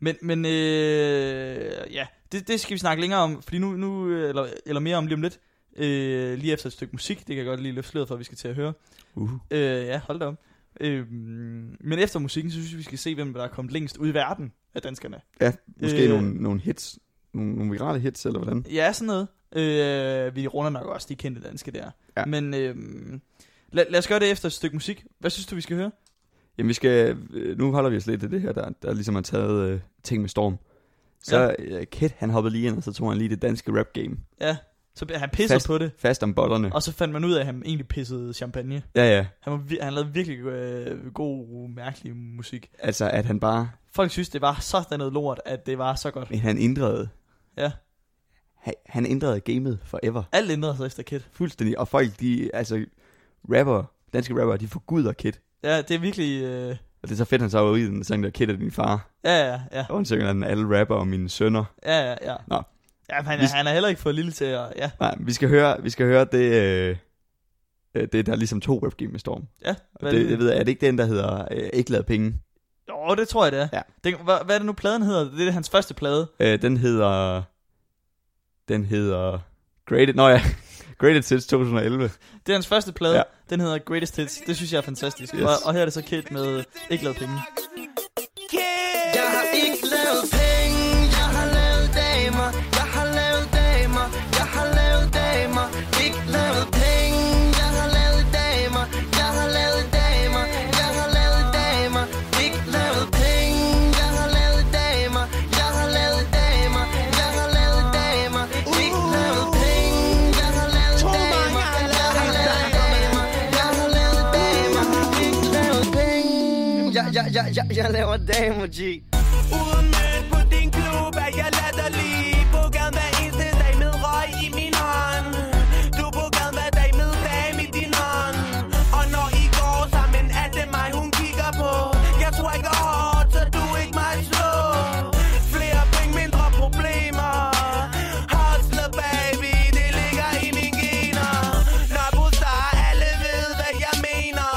Men, men øh, ja, det, det skal vi snakke længere om, fordi nu, nu øh, eller, eller mere om lige om lidt, øh, lige efter et stykke musik, det kan jeg godt lige løfte sløret for, at vi skal til at høre. Uh, Øh, ja, hold da op. Øh, men efter musikken, så synes jeg, vi skal se, hvem der er kommet længst ud i verden af danskerne. måske Øh. nogle, nogle hits, nogle, nogle virale hits, eller hvordan? Ja, sådan noget. Øh, vi runder nok også de kendte danske der. Ja. Men øh, lad, lad os gøre det efter et stykke musik. Hvad synes du, vi skal høre? Jamen, vi skal, øh, nu holder vi os lidt til det her, der, der ligesom har taget øh, ting med storm. Så ja. øh, Kit, han hoppede lige ind, og så tog han lige det danske rap game. Ja, så han pisser Fast- på det. Fast om botterne. Og så fandt man ud af, at han egentlig pissede champagne. Ja, ja. Han, var, vir- han lavede virkelig øh, god, mærkelig musik. Altså, at han bare, Folk synes, det var sådan noget lort, at det var så godt. men han ændrede. Ja. Han, han ændrede gamet forever. Alt ændrede sig efter Kid. Fuldstændig. Og folk, de, altså, rapper, danske rapper, de forguder Kit. Ja, det er virkelig... Øh, Og det er så fedt, han så er ude i den sang, der Kit er din far. ja, ja, ja, Og han synger den, alle rapper og mine sønner. ja, ja, ja. Nå. Ja, men han, Vi- han er heller ikke for lille til at... Ja, Nej, vi skal høre, vi skal høre det, øh, øh, det der er ligesom to rap game med storm. ja. Og Hvad det, det, ved jeg, er det ikke den, der hedder øh, Ikke lad penge? Åh, det tror jeg, det er. Ja. Det, hvad, hvad er det nu, pladen hedder? Det er hans første plade. Øh, den hedder... Den hedder... Graded... Nå ja, Graded Sits 2011. Det er hans første plade. Ja. Ja. Den hedder Greatest Hits. Det synes jeg er fantastisk. Yes. Yes. Og, og her er det så Kid med Ikke lavet penge. Jeg har ikke lavet penge, jeg har lavet damer, jeg har lavet damer, jeg har lavet damer, ikke lavet penge, jeg har lavet damer, jeg har lavet damer, jeg har lavet damer, ikke lavet penge, jeg har lavet damer, jeg har lavet damer, jeg har lavet damer, ikke lavet penge, jeg har lavet damer, jeg har lavet damer, jeg har lavet damer, ikke lavet penge, jeg, jeg, jeg, jeg, jeg laver damer, G. Udmødt på din klub er jeg latterlig På gaden hver eneste dag med røg i min hånd Du er på gaden hver dag med dame i din hånd Og når I går sammen er det mig hun kigger på Jeg tror ikke hårdt, så du ikke mig slå Flere penge, mindre problemer Hustler baby, det ligger i min gener Nørrebro Star, alle ved hvad jeg mener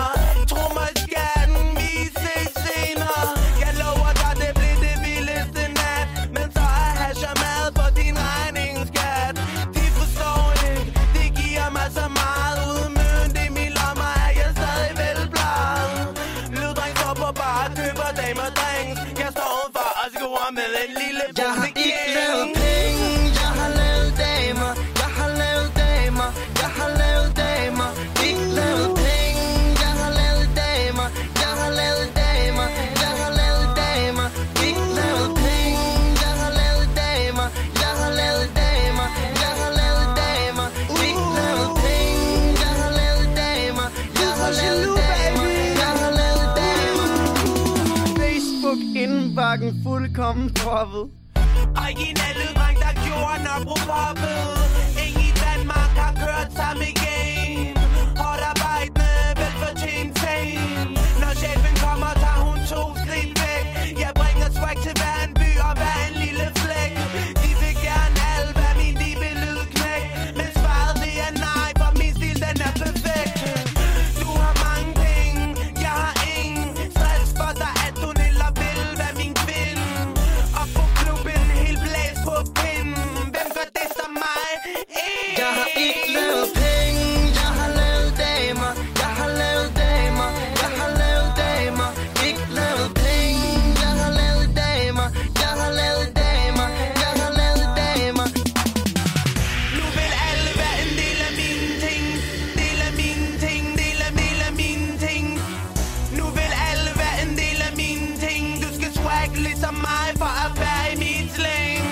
Tro mig skatten, vi ses senere Jeg lover dig, det blev det vildeste nat Men så er hash og mad på din regning, skat De forstår det, det giver mig så meget Udmønt i min lommer er jeg stadig velbladet Løddreng står på bar, køber damer drinks Jeg står udenfor og skruer med en lille Jeg har bumse ikke king. lavet penge, jeg har lavet damer, jeg har lavet damer, jeg har lavet damer, ikke lavet penge, jeg har lavet damer, jeg har lavet damer, jeg har lavet damer, ikke lavet penge, jeg har lavet damer, jeg har lavet damer, jeg har lavet damer, ikke lavet penge, jeg har lavet damer, jeg har lavet damer, jeg har lavet damer. Facebook indbakken fuldkommen proppet. Originale dreng, der gjorde Nørrebro poppet Ingen i Danmark har kørt samme game Hårdt arbejdende, velfortjent fame Når chefen kommer, tager hun to skridt væk Jeg bringer swag til hver en by og hver en lille flæk De vil gerne alt, hvad min de vil lyde knæk Men svaret det er nej, for min stil den er perfekt Du har mange penge, jeg har ingen Stress for dig, at du niller vil være min kvinde Og på klubben helt blæst på pinden Hvem gør det som mig? Ingen. Jeg har ikke lavet penge, jeg har lavet damer, jeg har lavet damer, jeg har lavet damer, ikke lavet penge, jeg har lavet damer, jeg har lavet damer, jeg har lavet damer. Nu vil alle være en del af mine ting Del af mine ting, del af, del af mine ting Nu vil alle være en del af mine ting Du skal swag ligesom mig for at være i mit slæng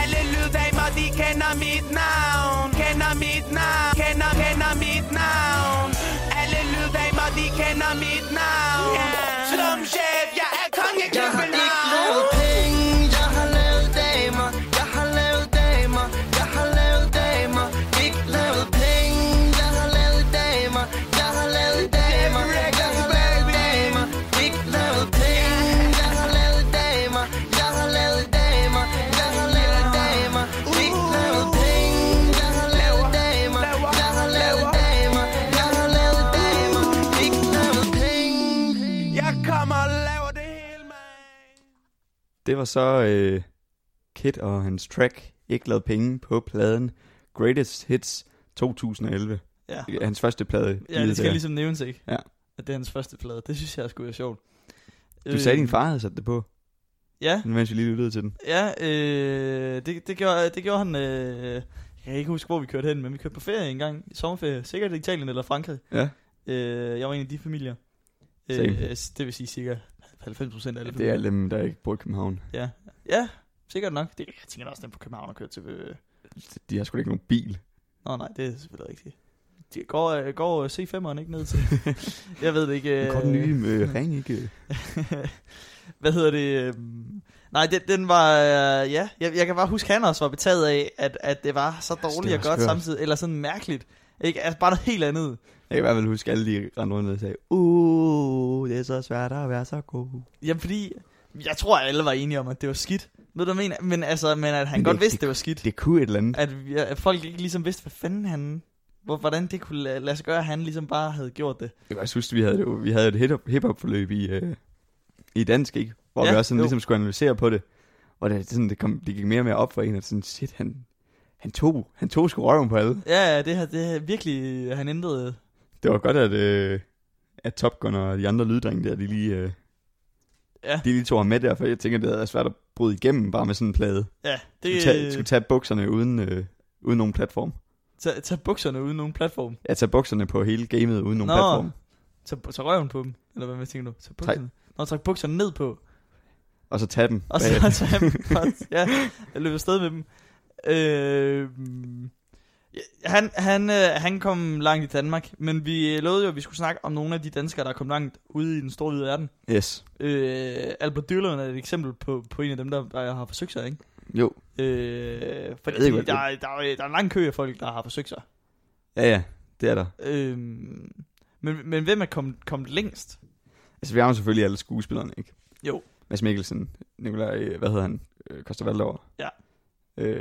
Alle lyddamer, de kender mit navn Kender mit navn, kender, kender mit navn Alle lyddamer, de kender mit navn yeah. Slum chef, jeg er konge Jeg har ikke København lavet penge, jeg har lavet damer, jeg har lavet damer, jeg har Det var så øh, Kid og hans track, ikke lavet penge, på pladen Greatest Hits 2011. Ja. Hans første plade. Ja, givet det skal der. ligesom nævnes, ikke? Ja. At det er hans første plade. Det synes jeg skulle være sjovt. Øh, Du sagde, at din far havde sat det på, Ja, mens vi lige lyttede til den. ja øh, det, det, gjorde, det gjorde han... Øh, jeg kan ikke huske, hvor vi kørte hen, men vi kørte på ferie en gang. I sommerferie. Sikkert i Italien eller Frankrig. Ja, Øh, jeg var en af de familier. Øh, Same. s- det vil sige cirka 90 procent af alle det er familier. alle dem, der ikke bor i København. Ja. ja, sikkert nok. Det, jeg tænker da også, den på København og kører til... Øh. De har sgu da ikke nogen bil. Nå nej, det er selvfølgelig rigtigt. De går, øh, går øh, C5'eren ikke ned til... jeg ved det ikke... Det er godt nye med øh, ring, ikke? Hvad hedder det? øhm, Nej, den, den var... øh, Ja, jeg, jeg kan bare huske, han også var betaget af, at, at det var så dårligt det og var godt skørt. samtidig. Eller sådan mærkeligt. Ikke? Altså bare noget helt andet. Jeg kan i hvert fald huske, at alle de rendte rundt og sagde, uh, det er så svært at være så god. Jamen fordi... Jeg tror, alle var enige om, at det var skidt. Ved du, hvad jeg mener? Men, altså, men at Men han men godt det- vidste, det, det var skidt. Det kunne et eller andet. at, vi- at folk ikke ligesom vidste, hvad fanden han... Hvor, hvordan det kunne lade, lade sig gøre, at han ligesom bare havde gjort det. Jeg kan også huske, vi havde, det, vi havde et hip- hip-hop-forløb i, øh, i dansk, ikke? Hvor Ja, vi også sådan, jo. ligesom skulle analysere på det. Og det, sådan, det, kom, det gik mere og mere op for en, at sådan, shit, han, han tog, han tog sgu røven på alle. Ja, ja, det her, det her virkelig, han ændrede... Det var godt, at, øh, at Top Gun og de andre lyddrenge der, de lige, øh, Ja. de lige tog ham med der, for jeg tænker, det havde været svært at bryde igennem bare med sådan en plade. Ja, Det... det... Skulle, tage, skulle tage bukserne uden, øh, uden nogen platform. Tag, tag bukserne uden nogen platform. Ja, tage bukserne på hele gamet uden nogen Nå. platform. Tag, bu- tag røven på dem. Eller hvad man tænker du? Tag bukserne. Nå, tag bukserne ned på. Og så tage dem. Og så bagefter. tag dem. godt. ja, jeg løb afsted med dem. Øh, ja, han, han, øh, han kom langt i Danmark, men vi øh, lovede jo, at vi skulle snakke om nogle af de danskere, der kom langt ude i den store hvide verden. Yes. Øh, Albert Dyrlund er et eksempel på, på en af dem, der, der har forsøgt sig, ikke? Jo. Øh, fordi ved ikke, ikke, hvad der, det er. der, der, er- der er en lang kø af folk, der har forsøgt sig. Ja, ja. Det er der. Øh, men, men hvem er kommet, kommet længst? Altså, vi har jo selvfølgelig alle skuespillerne, ikke? Jo. Mads Mikkelsen, Nikolaj, øh, hvad hedder han? Øh, Koster Valdauer. Ja. Øh, jeg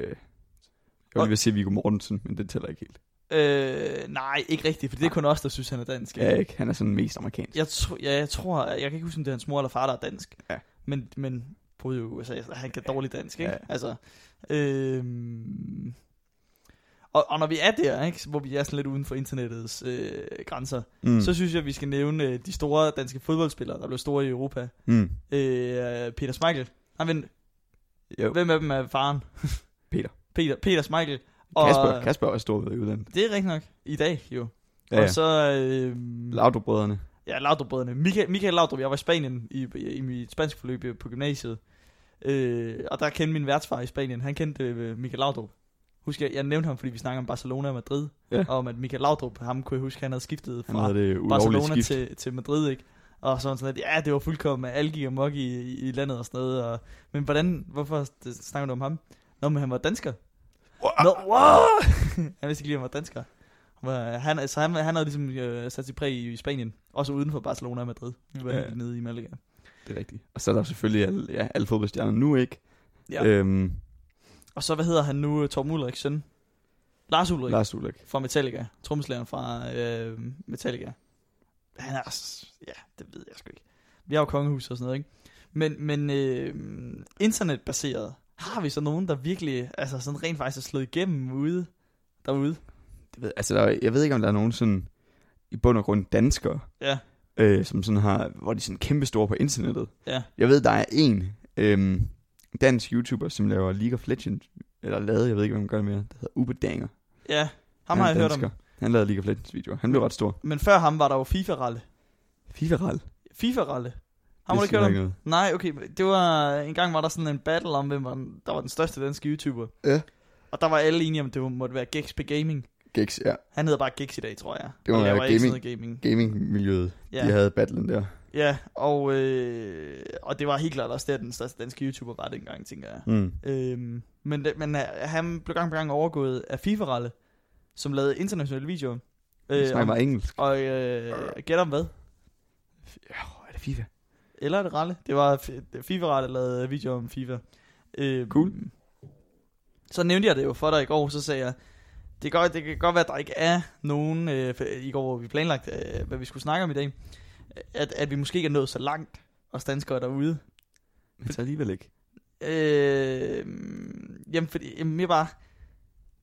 Og- vil lige sige Viggo Mortensen, men det tæller ikke helt. Øh, nej, ikke rigtigt, for det er kun os, der synes, han er dansk. Ja, ikke? Han er sådan mest amerikansk. Jeg, tro, ja, jeg tror, jeg kan ikke huske, om det er hans mor eller far, der er dansk. Ja. Men, men boede jo i USA, så han kan dårligt dansk, ikke? Ja. Ja. Altså, øhm, og, og når vi er der, ikke, hvor vi er sådan lidt uden for internettets øh, grænser, Mm. mm. så synes jeg, at vi skal nævne øh, de store danske fodboldspillere, der blev store i Europa. mm. Øh, Peter Schmeichel. Nej, men, Jo. hvem af dem er faren? Peter. Peter, Peter Schmeichel. Kasper, Kasper er også stor ved i udlandet. Det er rigtigt nok. I dag, jo. Ja, ja. Og så... Øh, Laudrup-brødrene. Ja, Laudrup-brødrene. Michael, Michael Laudrup, jeg var i Spanien i, i mit spansk forløb på gymnasiet. Øh, og der kendte min værtsfar i Spanien, han kendte øh, Michael Laudrup. Husk, jeg, jeg nævnte ham, fordi vi snakker om Barcelona og Madrid. Ja. Og om at Michael Laudrup, ham kunne jeg huske, han havde skiftet Han fra havde det ulovlige Barcelona skift. til, til Madrid, ikke? Og så var han sådan lidt, ja, det var fuldkommen, at alle gik amok i, i, i landet og sådan noget. Og, men hvordan, hvorfor det- snakker du om ham? Nå, men han var dansker. Nå, wow! han vidste ikke lige, at han var dansker. Han var- Han, altså, han, han havde ligesom øh, sat sit præg i, i Spanien. Også uden for Barcelona og Madrid. Nu var Ja. ja. nede i Malaga. Det er rigtigt. Og så er der selvfølgelig alle, ja, alle fodboldstjerner nu, ikke? Ja. Øhm, Og så, hvad hedder han nu? Torben Ulrichs søn. Lars Ulrik Lars. Lars Ulrik. fra Metallica. Tromslæren fra øh, Metallica. Han er også- Ja, det ved jeg sgu ikke. Vi har jo kongehus og sådan noget, ikke? Men, men øh, internetbaseret, har vi så nogen, der virkelig altså sådan rent faktisk er slået igennem ude, derude? Det ved, altså, der, er- jeg ved ikke, om der er nogen sådan, i bund og grund danskere, Ja, øh, som sådan har, hvor de er sådan kæmpe store på internettet. ja. Jeg ved, der er en øhm, dansk YouTuber, som laver League of Legends, eller lavede, jeg ved ikke, hvad man gør det mere, der hedder Ube Danger. Ja, Han ham er har jeg hørt dansker. om. Han lavede League of Legends videoer. Han blev ret stor. Men før ham var der jo FIFA-ralle. FIFA-ral. FIFA-ralle. Ham har du ikke hørt om? Nej, okay. men Det var, en gang var der sådan en battle om, hvem var den, der var den største danske YouTuber. Ja. Og der var alle enige om, det måtte være Gex på gaming. Gex, ja. Han hedder bare Gex i dag, tror jeg. Det må Og være laver ikke sådan noget gaming. Gaming-miljøet. Ja. De havde battlen der. Ja, og, øh, og det var helt klart også der, den største danske YouTuber var dengang, tænker jeg. Mm. Øhm, men, det- men øh, han blev gang på gang overgået af FIFA-ralle, som lavede internationale videoer. Øh, snakker om- bare engelsk. og øh, gæt om hvad? Åh, er det FIFA? Eller er det Ralle? Det var F- FIFA Ralle, der lavede video om FIFA. Øh, Cool. Så nævnte jeg det jo for dig i går, så sagde jeg, det kan godt, det kan godt være, at der ikke er nogen, øh, for i går hvor vi planlagt, øh, hvad vi skulle snakke om i dag, at, at vi måske ikke er nået så langt, os danskere derude. Men så alligevel ikke. Øh, jamen, fordi, jamen, jeg bare...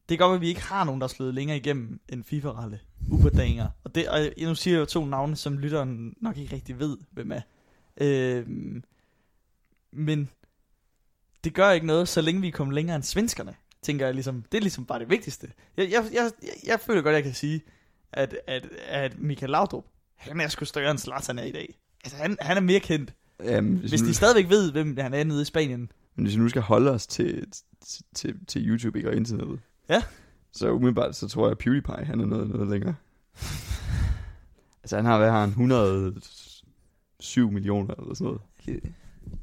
Det er godt, at vi ikke har nogen, der er slået længere igennem end FIFA-ralle. Ubedænger. Og, det, og jeg- nu siger jeg jo to navne, som lytteren nok ikke rigtig ved, hvem er. Øh, men det gør ikke noget, så længe vi er kommet længere end svenskerne, tænker jeg ligesom. Det er ligesom bare det vigtigste. Jeg, jeg, jeg, jeg, jeg føler godt, jeg kan sige, at, at, at Michael Laudrup, han er sgu større end Zlatan er i dag. Altså, han, han er mere kendt. Jamen, Øhm, hvis, Hvis nu, de stadigvæk ved, hvem han er nede i Spanien, men hvis vi nu skal holde os til, til, til, til YouTube ikke og internettet. Ja. Så umiddelbart, så tror jeg, at PewDiePie, han er noget, noget længere. altså, han har, hvad har han, 107 millioner eller sådan noget.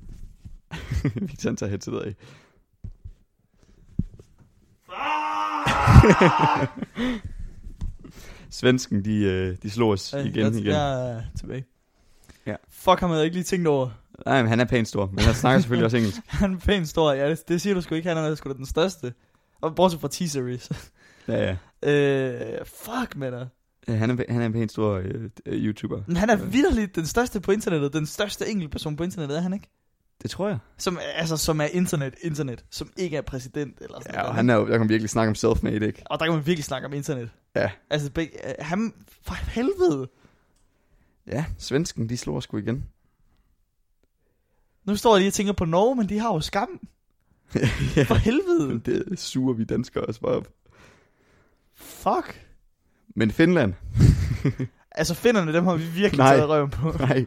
vi kan tage headsetet af. Svensken, de, øh, de slog os Øh, igen jeg, igen. Jeg er tilbage. Ja. Fuck, ham havde jeg ikke lige tænkt over. Nej, men han er pænt stor, men han snakker selvfølgelig også engelsk. Han er pænt stor. Ja, det, det siger du sgu ikke. Han er sgu da den største. Og bortset fra T-Series. Ja, ja. øh, fuck med dig. Ja, Han er, han er en pænt stor øh, øh, YouTuber. Men han er Øh. vidderligt den største på internettet. Den største enkeltperson på internettet, er han ikke? Det tror jeg. Som, er- altså, som er internet, internet. Som ikke er præsident eller sådan Ja, og noget. han er jo, der kan man virkelig snakke om self-made, ikke? og der kan man virkelig snakke om internet. Ja. Altså, beg- øh, ham, for helvede. Ja, svensken, de slår sgu igen. Nu står jeg lige og tænker på Norge, men de har jo skam. ja. For helvede. Det suger vi danskere også bare op. Fuck. Men Finland, Altså, finderne, dem har vi virkelig Nej. taget røven på. nej.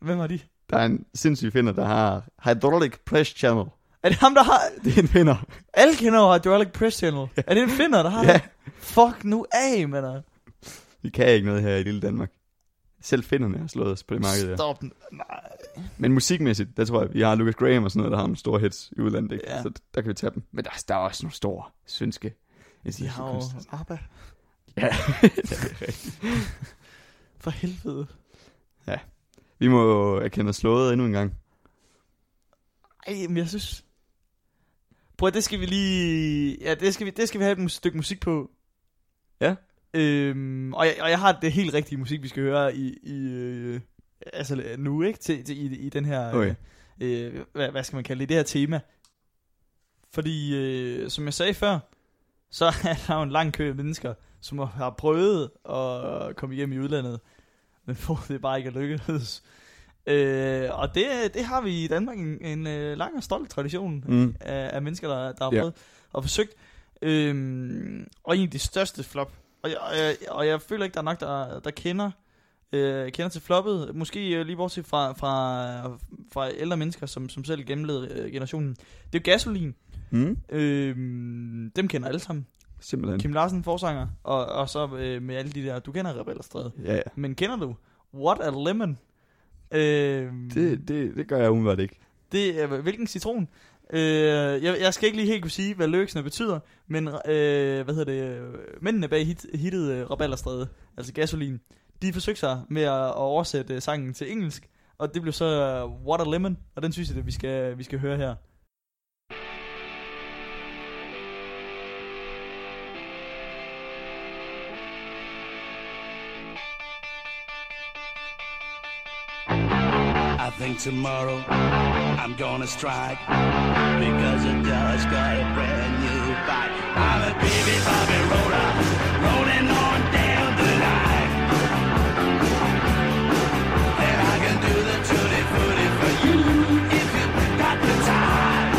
Hvem var de? Der er en sindssyg finder, der har Hydraulic Press Channel. Er det ham, der har... Det er en finder. Alle kender over Hydraulic Press Channel. Er det en finder, der har Ja, det? Fuck nu af, mand. vi kan ikke noget her i lille Danmark. Selv finderne har slået os på det marked, ja. Stop den. Nej. Men musikmæssigt, der tror jeg, vi har Lucas Graham og sådan noget, der har nogle store hits i udlandet, ikke? Ja. Så der kan vi tage dem. Men der, der er også nogle store svenske. De har jo ABBA. Ja. For helvede. Vi må jo erkende os slået endnu en gang. Ej, men jeg synes... Prøv at det skal vi lige... Ja, det skal vi, det skal vi have et mus- stykke musik på. Ja. Øhm, og, jeg, og jeg har det helt rigtige musik, vi skal høre i... i øh, altså nu, ikke? Til, til, i, I den her... Okay. Øh, øh, hvad, hvad skal man kalde det? Det her tema. Fordi, øh, som jeg sagde før, så er der jo en lang kø af mennesker, som har prøvet at komme hjem i udlandet, men hvor det bare ikke er lykkedes. Øh, og det, det har vi i Danmark en, en øh, lang og stolt tradition Mm. af, af mennesker, der, der har Ja. prøvet og forsøgt. Øhm, og en af de største flop. Og jeg, og jeg, og jeg føler ikke, der er nok, der, der kender, øh, kender til floppet. Måske øh, lige bortset fra, fra, fra ældre mennesker, som, som selv gennemlevede øh, generationen. Det er jo gasolin. Mm. Øhm, dem kender alle sammen. Simpelthen. Kim Larsen, forsanger. Og, og så øh, med alle de der, du kender Rebel Stræde. Ja, ja. Men kender du What a Lemon? Øhm, Det, det, det gør jeg umiddelbart ikke. det er, hvilken citron? Øh, jeg, jeg skal ikke lige helt kunne sige, hvad lyricsene betyder, men øh, hvad hedder det, øh, mændene bag hit, hittet øh, Rabalderstræde, altså gasolin, de forsøgte sig med at, at oversætte øh, sangen til engelsk, og det blev så øh, What a Lemon, og den synes jeg, at vi skal, vi skal høre her. I think tomorrow I'm gonna strike because I just got a brand new bike. I'm a baby Bobby roller, rolling on down the line, and I can do the tutti frutti for you if you got the time.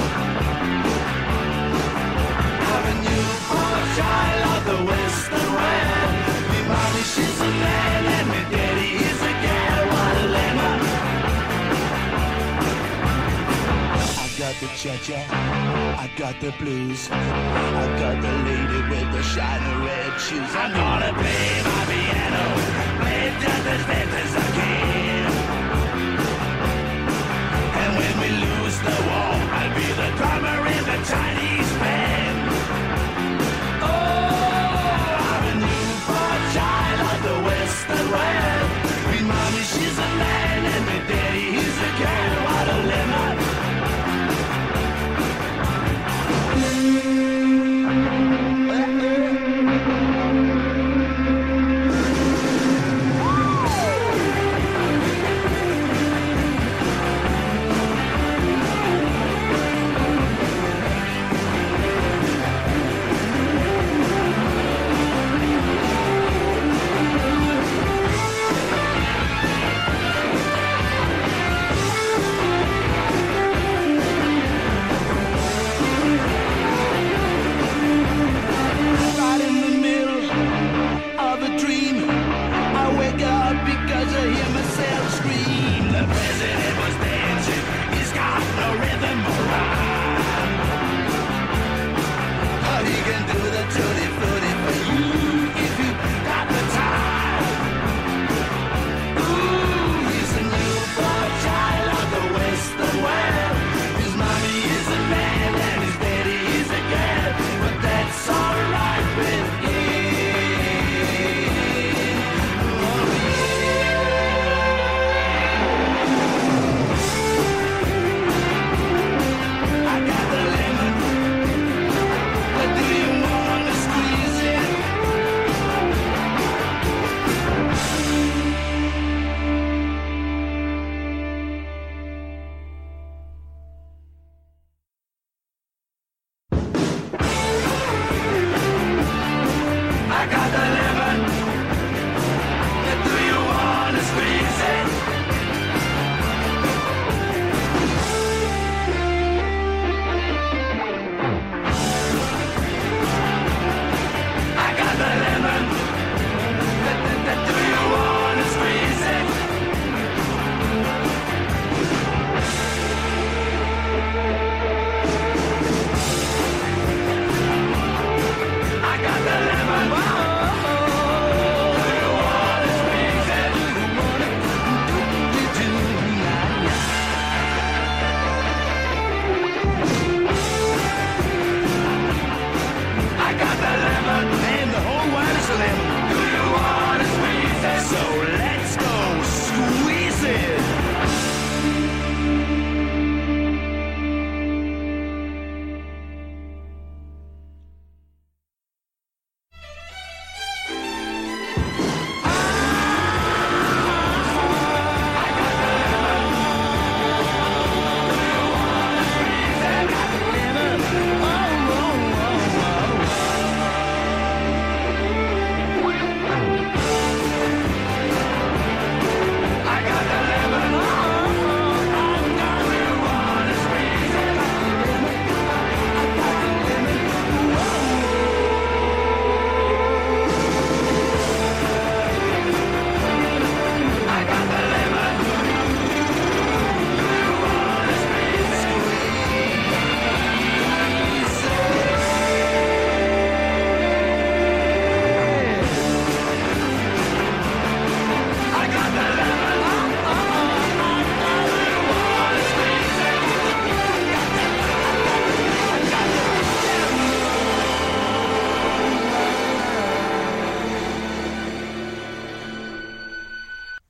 I'm a new Porsche, I love the Western red. Me mommy she's a man and me daddy is a gal. What a lemon. I got the cha-cha, I got the blues, I got the lady with the shiny red shoes. I'm gonna play my piano, play it just as best as I can. And when we lose the war, I'll be the drummer in the Chinese band. Oh, I'm a new child of the Western world. Me mommy, she's a man, and me daddy, he's a girl. What a lemon.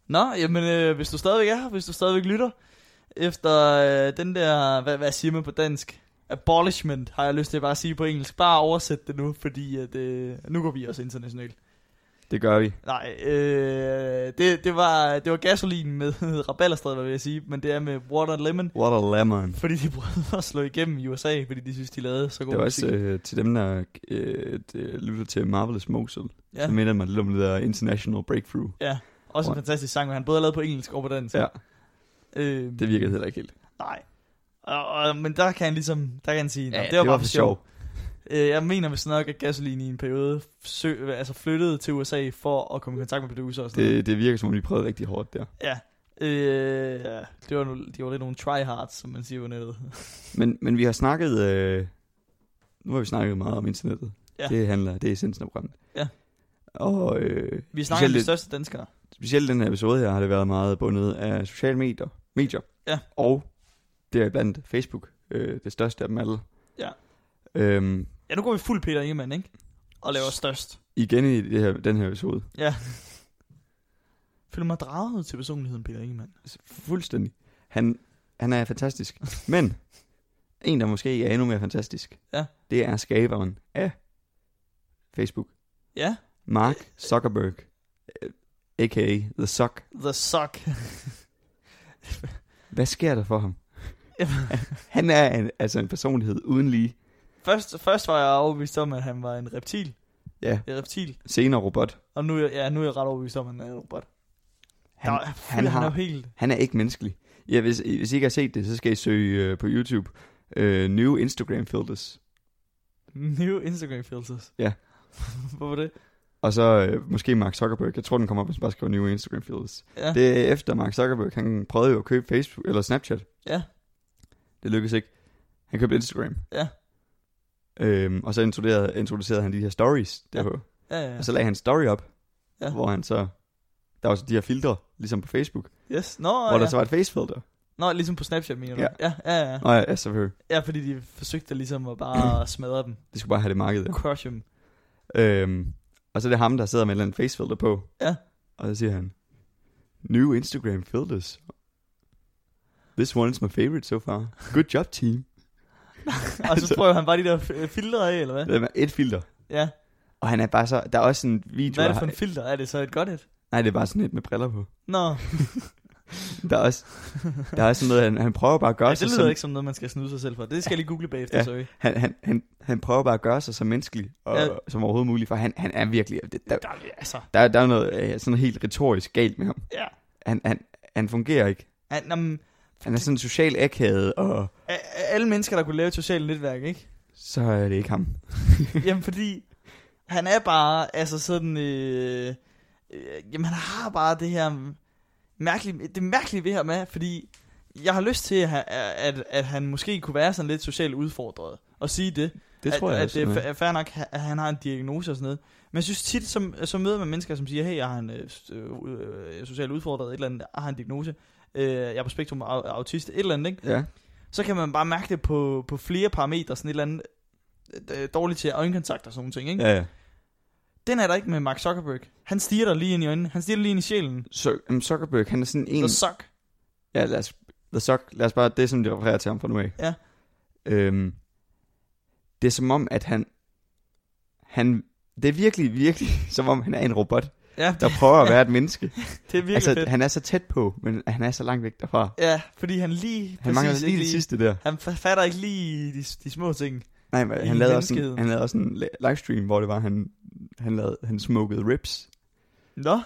Nå, jamen øh, hvis du stadigvæk er her, hvis du stadigvæk lytter, efter øh, den der, hvad, hvad siger man på dansk? Abolishment, har jeg lyst til at bare sige på engelsk. Bare oversæt det nu, fordi at, øh, nu går vi også internationalt. Det gør vi. Nej, øh, det, det, var, det var gasolin med rabalderstræd, hvad vil jeg sige, men det er med water and lemon. What a lemon. Fordi de prøvede at slå igennem i USA, fordi de synes, de lavede så god Det var musik. også øh, til dem, der øh, øh, lytter til Marvelous Mosul. Ja. Ja. Så minder man lidt om det der International Breakthrough. ja, også en Right. fantastisk sang, men han både har lavet på engelsk og på dansk. Ja, Øh, det virkede heller ikke helt. Nej. Og, og, men der kan han ligesom, der kan han sige, ja, det, det var var bare for for sjov. sjov. Øh, jeg mener vist nok, at Gasoline i en periode sø, altså flyttede til USA for at komme i kontakt med producer og sådan Det, det virker som om, de prøvede rigtig hårdt der. noget. Ja. Øh, ja. Det var, nu- de var lidt nogle tryhards, som man siger på nettet. Men, men vi har snakket... Øh, nu har vi snakket meget om internettet. Ja. Ja. Det handler... Det er essensen af programmet. Ja. Og øh, Vi snakker om specielt, de lidt, største danskere. specielt den her episode her har det været meget bundet af sociale medier. medier. Ja. Og det er blandt Facebook. Øh, det største af dem alle. Ja. Øhm, Ja, nu går vi fuld Peter Ingemann, ikke? Og laver størst. igen i det her, den her episode. Ja. Føler mig draget til personligheden, Peter Ingemann. Fuldstændig. Han, han er fantastisk. Men en, der måske er endnu mere fantastisk, Ja. det er skaberen af Facebook. Ja, Mark Zuckerberg, øh, a.k.a. The Suck. the suck. Hvad sker der for ham? han er en, altså en personlighed uden lige. først, først var jeg overbevist om, at han var en reptil. Ja, En reptil. senere robot. Og nu, er jeg- ja, nu er jeg ret overbevist om, at han er en robot. Han, Der- han, han er jo har, helt... han er ikke menneskelig. Ja, hvis, hvis I ikke har set det, så skal I søge øh, på YouTube. Øh, new Instagram filters. New Instagram filters. Ja. Hvorfor det? Og så øh, måske Mark Zuckerberg. Jeg tror, den kommer op, hvis man bare skriver New Instagram filters. Ja. Det. Det er efter Mark Zuckerberg, han prøvede jo at købe Facebook, eller Snapchat. Ja. Det lykkedes ikke. Han købte Instagram. Ja. Øhm, og så introducerede, introducerede han de her stories derpå. Ja. Ja, ja, ja. Og så lagde han en story op, ja. Ja. hvor han så... Der var så de her filtre, ligesom på Facebook, oh, Yes. Nå, hvor ja. der så var et facefilter. Nå, ligesom på Snapchat, mener du? Ja. Ja, ja, ja. Nå ja, ja, selvfølgelig. Ja, fordi de forsøgte ligesom at bare smadre dem. Det skulle bare have det marked. Ja. Crush dem. Øhm, og så er det ham, der sidder med et eller andet facefilter på. Ja. Og så siger han, New Instagram filters. This one is my favorite so far. Good job, team. Og så prøver han bare de der f- øh, filtre af, eller hvad? Det er et filter. Ja. Og han er bare så... Der er også en video... Hvad er det der for har- en filter? Er det så et godt et? Nej, det er bare sådan et med briller på. Nå, Der er også, der er også sådan noget, han, han prøver bare at gøre ja, det sig lyder som, ikke som noget, man skal snyde sig selv for. Det skal jeg lige google bagefter, Ja. ja. sorry. Han, han, han, han prøver bare at gøre sig så menneskelig og, ja. Ja. som overhovedet muligt, for han, han er virkelig... Det, der, Der, altså, der, der er noget øh, sådan helt retorisk galt med ham. ja. Han, han, han fungerer ikke. Han, jamen, Han er sådan social akavet, og a- a- alle mennesker, der kunne lave et socialt netværk, ikke? så er det ikke ham. Jamen fordi han er bare altså sådan øh, øh, jamen han har bare det her mærkelige det mærkelige ved ham er, fordi jeg har lyst til at, ha- at, at han måske kunne være sådan lidt socialt udfordret og sige det. Det tror at, jeg at det også, er ja. fa- er fair nok ha- at han har en diagnose og sådan noget. Men jeg synes tit som så møder man mennesker som siger, "Hey, jeg har en øh, s- øh, øh, socialt udfordret et eller andet, jeg har en diagnose. Øh, jeg er på spektrum au- autist et eller andet, ikke? Ja, så kan man bare mærke det på, på flere parametre, sådan et eller andet øh, dårligt til øjenkontakt og sådan nogle ting, ikke? Ja. ja, ja. Den er der ikke med Mark Zuckerberg. Han stiger dig lige ind i øjnene. Han stiger dig lige ind i sjælen. Så, um, Zuckerberg, han er sådan en... The suck. Ja, lad os, the sock, lad os bare, det er som de refererer til ham fra nu af. Ja. Øhm, det er som om, at han, han, det er virkelig, virkelig, som om han er en robot, Ja, der prøver at være et menneske. det er virkelig altså, altså, fedt. Han... han er så tæt på, men han er så langt væk derfra. Ja, fordi han lige... Han mangler lige det sidste der. Han fa- fatter ikke lige de, de små ting. Nej, men I han lavede, også en, menneskeheden. han lavede også en la- livestream, hvor det var, han, han, lavede, han smokede ribs. Nå,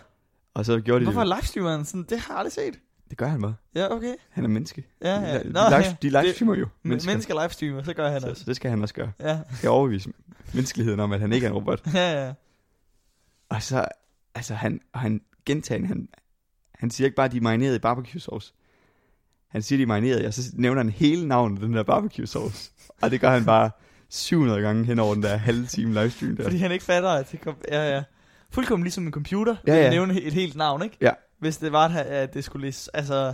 Og så gjorde de hvorfor det. er livestreameren sådan? Det har jeg aldrig set. Det gør han bare. Ja, okay. Han er menneske. Ja, ja. De, Nå, live, ja. de livestreamer jo. Men- Mennesker. Mennesker livestreamer, så gør han så, også. så det skal han også gøre. Ja, Det overbevise menneskeligheden om, at han ikke er en robot. ja, ja. Og så, altså han, og han gentagende, han, han siger ikke bare, de er marineret i barbecue sauce. Han siger, de er marineret, og så nævner han hele navnet den der barbecue sauce. og det gør han bare 700 gange hen over den der halve time livestream der. Fordi han ikke fatter, at det kom... Ja, ja. Fuldkommen ligesom en computer. Ja, Ja, ja. ja. Nævne et helt navn, ikke? Ja. Hvis det var, at at det skulle læse... Altså...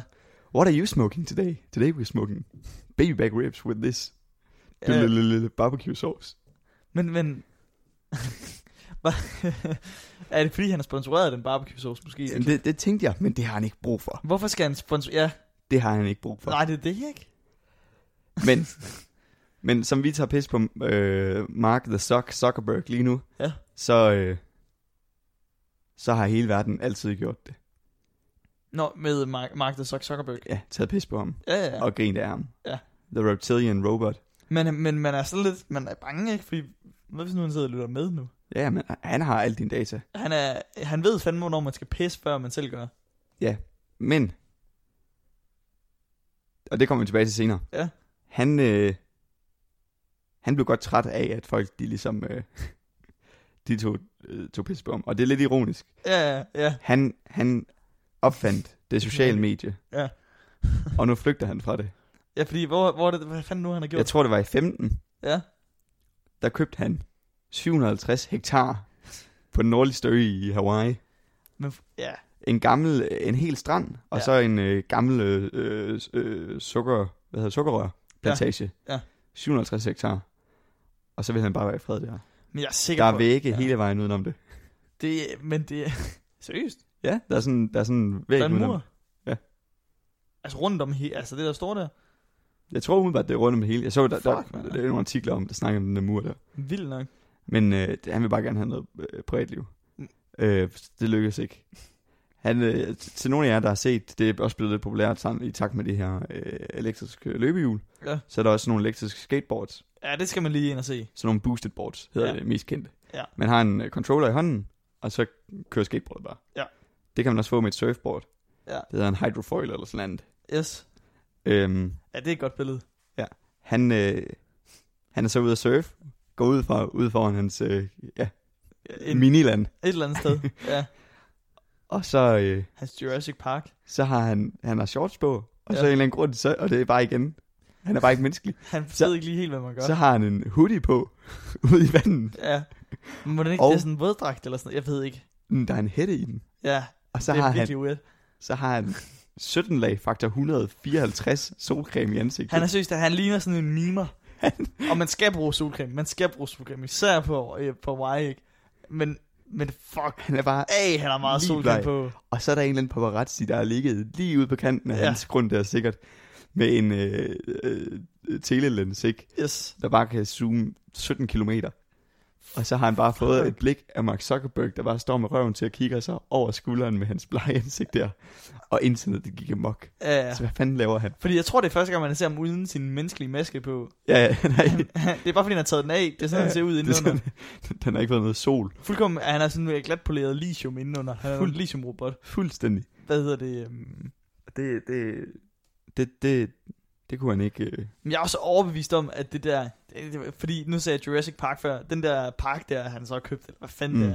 What are you smoking today? Today we're smoking baby back ribs with this ja. lille, lille barbecue sauce. Men, men... Var- er det fordi, han har sponsoreret af den barbecue sauce måske? Jamen, det, det tænkte jeg, men det har han ikke brug for. Hvorfor skal han sponsorere? Ja, Det har han ikke brug for. nej, det er det ikke. Men, men som vi tager pis på øh, Mark the Sock Zuckerberg lige nu, Ja. så, øh, så har hele verden altid gjort det. Nå, med Mark, Mark the Zuck- Zuckerberg. Ja, taget pis på ham Ja, ja, ja. og grint af ham. Ja. The Reptilian Robot. Men, men man er sådan lidt, man er bange, ikke? Fordi, hvad hvis nu han sidder og lytter med nu? Ja, men han har alle dine data. Han, er, han ved fandme, hvornår man skal pisse, før man selv gør. Men, og det kommer vi tilbage til senere. Ja. Han, øh, han blev godt træt af, at folk de ligesom, øh, de tog, øh, tog pis på ham. Og det er lidt ironisk. Ja, ja, ja. Han, han opfandt det sociale medie. Ja. og nu flygter han fra det. Ja, fordi, hvor, hvor er det, hvad fanden nu han har Jeg gjort? tror, det var i 15, Ja. der købte han 750 hektar på den nordlige stø i Hawaii. Men, ja, En gammel, øh, en hel strand, og Ja. så en øh, gammel øh, øh, øh, sukker, hvad hedder, sukkerrørplantage. Ja, ja. 750 hektar. Og så vil han bare være i fred der. men jeg er sikker Der er på, vægge ja. hele vejen udenom det. det, men det seriøst, Ja, der er sådan, der er sådan en væg der er en udenom. mur. Ja. Altså rundt om, he- altså det der står der, Jeg tror umiddelbart, det er rundt om det hele. Jeg så, der, der, Fuck, mand. der, der er nogle artikler om, der snakker om den der mur der. vildt nok. Men øh, det- han vil bare gerne have noget øh, privatliv. Mm. Øh, det lykkedes ikke. Han, øh, t- til nogle af jer, der har set, det er også blevet lidt populært sammen i takt med de her øh, elektriske løbehjul. Ja. Så er der også nogle elektriske skateboards, Ja, det skal man lige ind og se. sådan nogle boosted boards, hedder Ja. ja. det mest kendte. Ja. Man har en øh, controller i hånden, og så kører skateboardet bare. Ja. Det kan man også få med et surfboard. Ja. Det hedder en hydrofoil eller sådan noget. Yes. Øhm, Ja, det er et godt billede. han, øh, han er så ude at surfe, går ud, fra, ud foran hans øh, ja, En, miniland, et eller andet sted. ja, og så... Øh, hans Jurassic Park. så har han, han har shorts på, og ja. Ja. så af en eller anden grund, så, og det er bare igen, han er bare ikke menneskelig, Han ved ikke lige helt, hvad man gør. så har han en hoodie på ude i vandet. Ja. Men må den ikke, Og- det er sådan en våddragt eller sådan noget? Jeg ved ikke. Mm, Der er en hætte i den. Ja, Og så det har, er han, virkelig weird. så har han 17 lag faktor 154 solcreme i ansigtet. Han er seriøst, han ligner sådan en mimer. og man skal bruge solcreme. Man skal bruge solcreme. Især på, øh, på Hawaii, ikke? Men, men fuck. han er bare, Ej, han har meget Lige solcreme bleg. på. og så er der en eller anden paparazzi, der har ligget lige ude på kanten af Ja. ja. hans grund der sikkert, med en øh, øh, telelens, ikke? Yes. der bare kan zoome 17 kilometer. Og så har han bare fået et blik af Mark Zuckerberg, der bare står med røven til at kigge sig over skulderen med hans blege ansigt der. Og internet det gik amok. Ja. Ja. Så hvad fanden laver han? Fordi jeg tror, det er første gang, man ser ham uden sin menneskelige maske på. Ja, ja, nej, det er bare fordi, han har taget den af. Det er sådan, han ser ud det er indenunder. sådan, han har ikke fået noget sol. Fuldkommen, han er sådan en glat poleret lithium indenunder. Han er jo en Fuld- lithium-robot. Fuldstændig. Hvad hedder det? øhm, Det, det, det, det, det kunne han ikke... Øh. Men jeg er også overbevist om, at det der... det- det- Fordi nu sagde jeg Jurassic Park før. Den der park der, han så har købt, eller hvad fanden mm. Mm.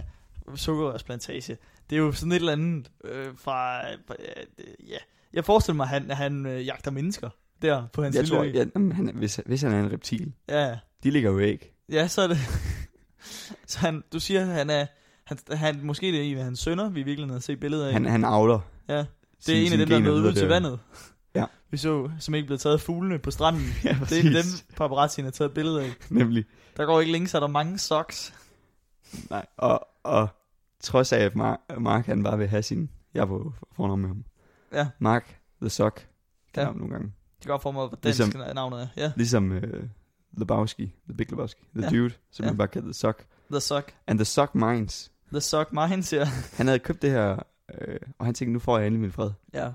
det er, sukkerrørsplantage. Det er jo sådan et eller andet øh, fra... Øh, øh, ja. Jeg forestiller mig, at han, han øh, jagter mennesker der på hans Jeg lille tror, ø. ja, jamen, han, er- hvis, hvis han er en reptil, ja. de ligger jo ikke. ja, så er det... så han, du siger, at han er... Han, han, måske det er en af hans sønner, vi virkelig har set billeder af. Han, han avler. ja. Det sine- er en af sine dem, der er gener nået ud videre til der. vandet. Ja. Vi så, som ikke blev taget af fuglene på stranden. Ja, det er præcis. en af dem, paparazzien har taget billeder af. Nemlig. Der går ikke længe, så er der mange socks. Nej, og, og trods af, at Mark, Mark han bare vil have sin... Jeg var fornavn med ham. Ja. Mark The Sock, kan Ja. ja. nogle gange. Det går for mig, hvad dansk Ligesom- ligesom... navnet er. Ja, Ligesom uh, Lebowski, The Big Lebowski, The Ja. Dude, som Ja. ja. bare kalder The Sock. The Sock. And The Sock Minds. The Sock Minds, ja. Han havde købt det her, øh, og han tænkte, nu får jeg endelig min fred. ja.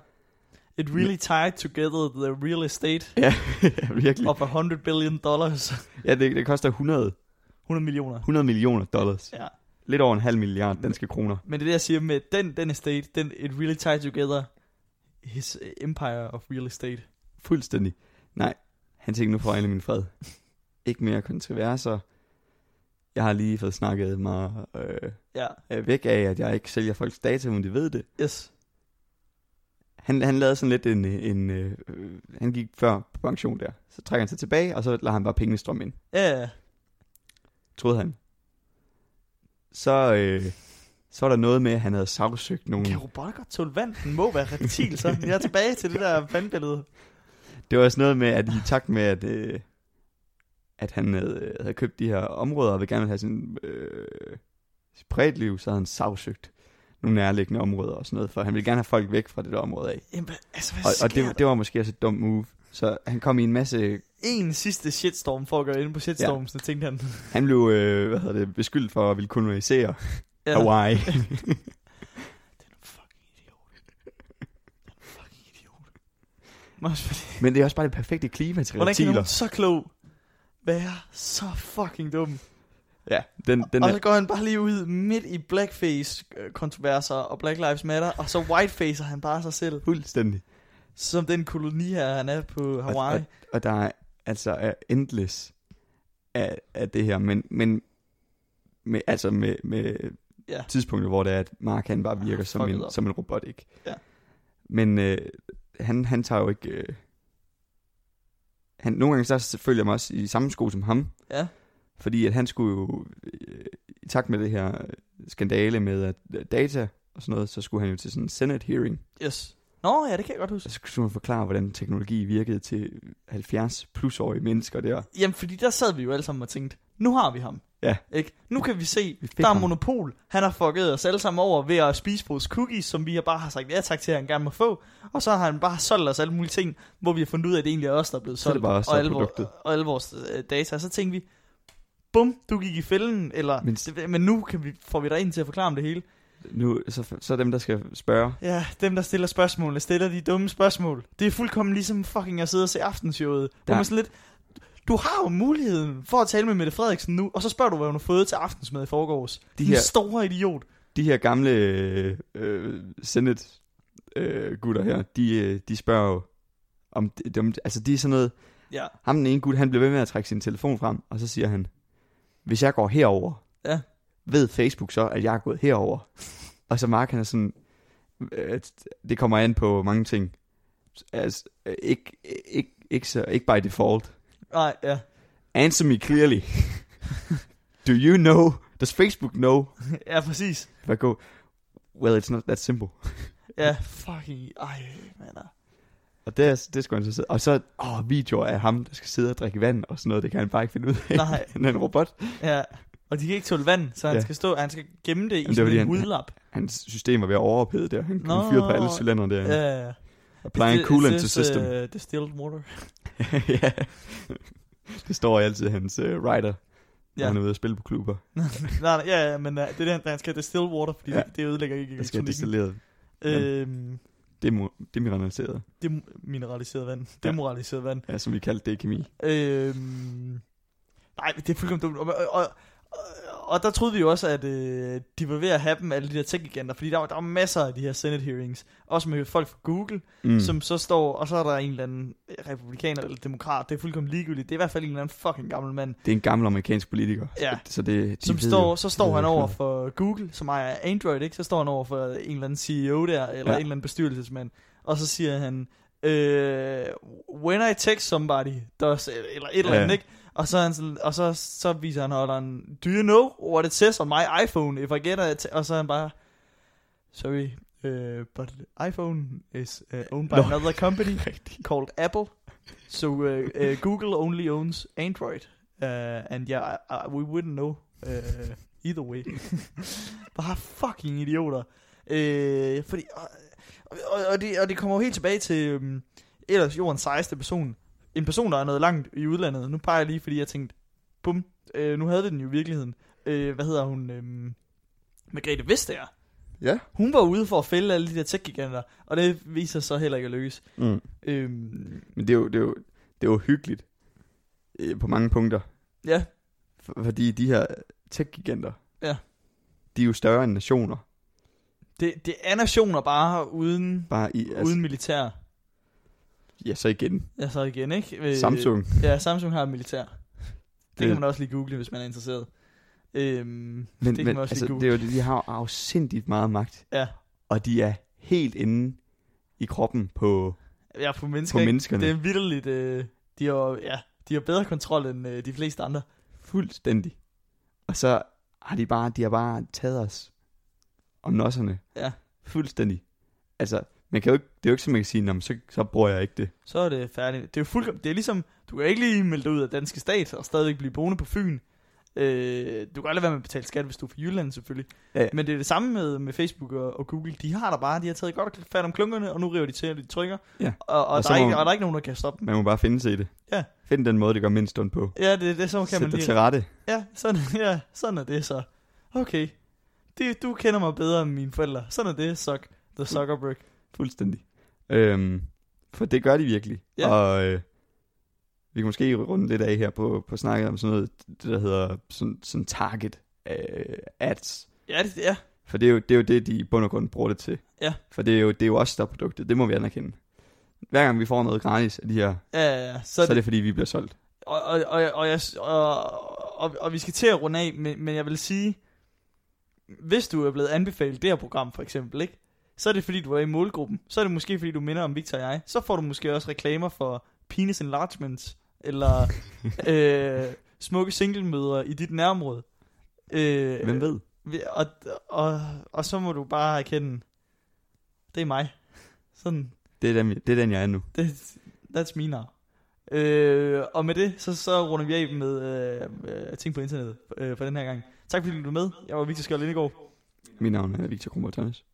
It really tied together the real estate Ja, virkelig. of a 100 billion dollars. Ja, det, det koster 100, 100 millioner. 100 millioner dollars. Ja. Lidt over en halv milliard danske kroner. Men det er det, jeg siger med den, den estate, den, it really tied together his empire of real estate. Fuldstændig. Nej, han tænkte, nu får jeg endelig min fred. Ikke mere kontroverser. Jeg har lige fået snakket mig øh, Ja, øh, væk af, at jeg ikke sælger folks data, men de ved det. yes. Han, han lavede sådan lidt en, øh, en øh, øh, han gik før på pension der. Så trækker han sig tilbage, og så lader han bare pengene strømme ind, Ja, ja. troede han. Så, øh, så var der noget med, at han havde sagsøgt nogen. Kan robotter godt tåle vand? Den må være reptil, så. Jeg er tilbage til det der vandbillede. Det var også noget med, at i takt med, at, øh, at han havde, havde købt de her områder, og ville gerne have sin øh, sit privatliv, så havde han sagsøgt nogle nærliggende områder og sådan noget, for han ville gerne have folk væk fra det der område af. Jamen, hvad- altså, hvad Og, sker og der? det, det var måske også et dumt move. Så han kom i en masse... en sidste shitstorm for at gøre inde på shitstorm, ja. så tænkte han. Han blev øh, hvad hedder det, beskyldt for at ville kolonisere Ja. Hawaii. Fucking idiot. Den fucking idiot. Men også fordi- Men det er også bare det perfekte klima til Hvordan kan reptiler. nogen så klog være så fucking dum? Ja, den, den Og er, så går han bare lige ud midt i blackface-kontroverser og Black Lives Matter, og så whitefacer han bare sig selv, fuldstændig. som den koloni her, han er på Hawaii. Og, og, og der er altså er endless af, af det her, men, men med, altså med, med Ja. ja. tidspunkter, hvor det er, at Mark han bare virker Ah, ah, som, fucket en, op. som en robot, ikke? Ja. Men øh, han, han tager jo ikke... Øh, han, nogle gange så følger jeg mig også i samme sko som ham, Ja. fordi at han skulle jo, øh, i takt med det her øh, skandale med at øh, data og sådan noget, så skulle han jo til sådan en Senate hearing, Yes. Nå, ja, det kan jeg godt huske. så skulle man forklare, hvordan teknologi virkede til 70 plusårige mennesker der. Jamen, fordi der sad vi jo alle sammen og tænkte, nu har vi ham. Ja. Ikke? Nu kan vi se, Vi fik der er ham. monopol. Han har fucket os alle sammen over ved at spise vores cookies, som vi har bare har sagt ja tak til, at han gerne må få. Og så har han bare solgt os alle mulige ting, hvor vi har fundet ud af, at det egentlig er os, der er blevet Så er det solgt. bare os, der og, er alle vores, produktet. og alle vores øh, data. Og så tænkte vi, bum, du gik i fælden. Eller, men, Men- det, men nu kan vi, får vi dig ind til at forklare om det hele. Nu, så, så dem, der skal spørge, Ja, dem der stiller spørgsmålene, stiller de dumme spørgsmål. Det er fuldkommen ligesom fucking at sidde og se aftenshowet. Der. Der- Man sådan lidt, du har jo muligheden for at tale med Mette Frederiksen nu, og så spørger du, hvad hun har fået til aftensmad i forgårs. De De her... her- store idiot. de her gamle øh, øh, Senate-gutter her, de, øh, de spørger jo, om de, dem, altså de er sådan noget, Ja, ham den ene gut, han bliver ved med at trække sin telefon frem, og så siger han, hvis jeg går herover, Ja. ved Facebook så, at jeg er gået herover. og så Mark, han er sådan, øh, det kommer an på mange ting. Altså, øh, ikke, ikke, ikke, så, ikke by default. nej, ja. Answer me clearly. Do you know? Does Facebook know? ja, præcis. If I go, well, it's not that simple. Ja, fucking, ej, man. Og det er, det er sgu interessant. Og så åh, videoer af ham, der skal sidde og drikke vand og sådan noget. Det kan han bare ikke finde ud af. Nej. han er en robot. Ja. Og de kan ikke tåle vand, så han ja. Ja. skal stå, han skal gemme det i det er sådan fordi, en han- hudlap. Hans system er ved at overophede der. Han Nå, kan fyre på alle cylindre der. Ja, ja, ja. Applying Is thi- coolant is to this, system. Uh, distilled water. ja. Det står i altid i hans uh, rider, når Ja. han er ude at spille på klubber. nej, nej, ja, ja, men uh, det er det, han skal have distilled water, fordi ja. Ja. det, det ødelægger ikke Der skal elektronikken. destilleret, Øhm, demo- demineraliseret, dem- mineraliseret vand. Demoraliseret vand. ja, som vi kaldte det i kemi. Øhm, nej, men det er fuldkommen dumt. Og, og, og, og- og der troede vi jo også, at øh, de var ved at have dem, alle de der tech-giganter, fordi der var, der var masser af de her Senate hearings, også med folk fra Google, mm. som så står, og så er der en eller anden republikaner eller demokrat, det er fuldkommen ligegyldigt, det er i hvert fald en eller anden fucking gammel mand, Det er en gammel amerikansk politiker. Ja. Så det, de som ved står, jo- så de står ved han jo over klart. for Google, som ejer Android, ikke? Så står han over for en eller anden CEO der, Ja. eller en eller anden bestyrelsesmand, og så siger han, øh, when I text somebody, does, eller et eller Ja. andet, ikke? Og så, er han sådan, og så, så viser han holderen, do you know what it says on my iPhone, if I get a, t-" og så er han bare, sorry, uh, but iPhone is uh, owned by Nå. another company called Apple, so uh, uh, Google only owns Android, uh, and yeah, I, I, we wouldn't know uh, either way. bare fucking idioter. Øh, fordi, og, og, og, det, og det kommer jo helt tilbage til øhm, ellers jordens sejeste person. En person, der er noget langt i udlandet. Nu peger jeg lige, fordi jeg tænkte, bum, øh, nu havde vi den jo i virkeligheden. Øh, hvad hedder hun? Øhm, Margrethe Vestager. Ja. Hun var ude for at fælde alle de der tech-giganter, og det viser sig så heller ikke at lykkes. Mm. Øhm, Men det er jo, det er jo, det er jo hyggeligt øh, på mange punkter. ja, For, fordi de her tech-giganter, Ja. de er jo større end nationer. det, det er nationer bare uden, Bare i, altså, uden militær. ja, så igen. Altså igen, ikke? Øh, Samsung. Ja, Samsung har et militær. Det, det kan Det- man også lige google, hvis man er interesseret. Øhm, Men, kan men man også lige altså, google. det er jo, det, de har jo afsindigt meget magt. Ja. Og de er helt inde i kroppen på... ja, på mennesker. På ikke? menneskerne. Det er vildt. Øh, de har jo- ja, de har bedre kontrol end øh, de fleste andre. Fuldstændig. Og så har de bare, de har bare taget os om nosserne. Ja. Fuldstændig. Altså, man kan jo ikke, det er jo ikke som man kan sige, "Nå, men så, så bruger jeg ikke det. Så er det færdigt. Det er jo fuldkommen, det er ligesom, du kan ikke lige melde dig ud af danske stat og stadigvæk blive boende på Fyn. Øh, du kan godt lade være med at betale skat, hvis du er fra Jylland selvfølgelig. Ja, ja. Men det er det samme med, med Facebook og, og Google. De har der bare, de har taget godt fat om klunkerne, og nu river de til, og de trykker. Ja. Og, og, Og der så er må- ikke, og der er ikke nogen, der kan stoppe dem. Man må bare finde sig i det. Ja. Find den måde, det gør mindst ondt på. Ja, det, det, så kan Sæt man dig lige... til rette. Ja, sådan, ja, sådan er det så. Okay. Det, du kender mig bedre end mine forældre. Sådan er det, Zuck. The Zuckerberg. Fuldstændig. Øhm, for det gør de virkelig. Ja. Og øh, vi kan måske runde lidt af her på, på snakket om sådan noget, det der hedder sådan, sådan target øh, ads. Ja, det, ja. For det er, jo, det er jo det, de i bund og grund bruger det til. Ja. For det er, jo, det er jo os, der er produktet. Det må vi anerkende. Hver gang vi får noget gratis af de her, ja, ja, ja. så, så er det fordi, vi bliver solgt. og, og, og, og, jeg, og, og, og vi skal til at runde af, men, men jeg vil sige, hvis du er blevet anbefalet det her program for eksempel, ikke? så er det fordi, du er i målgruppen. Så er det måske, fordi du minder om Victor og jeg. Så får du måske også reklamer for penis enlargements, eller øh, smukke singlemøder i dit nærområde. Øh, Hvem ved? vi- Og, og, og så må du bare erkende, det er mig. Sådan, Det er den, det er den jeg er nu. det, that's me now. Øh, og med det, så, så runder vi af med øh, øh, ting på internettet øh, for den her gang. Tak fordi du var med. Jeg var Victor Skjold Indegård. Mit navn er Victor Kronborg Thomas.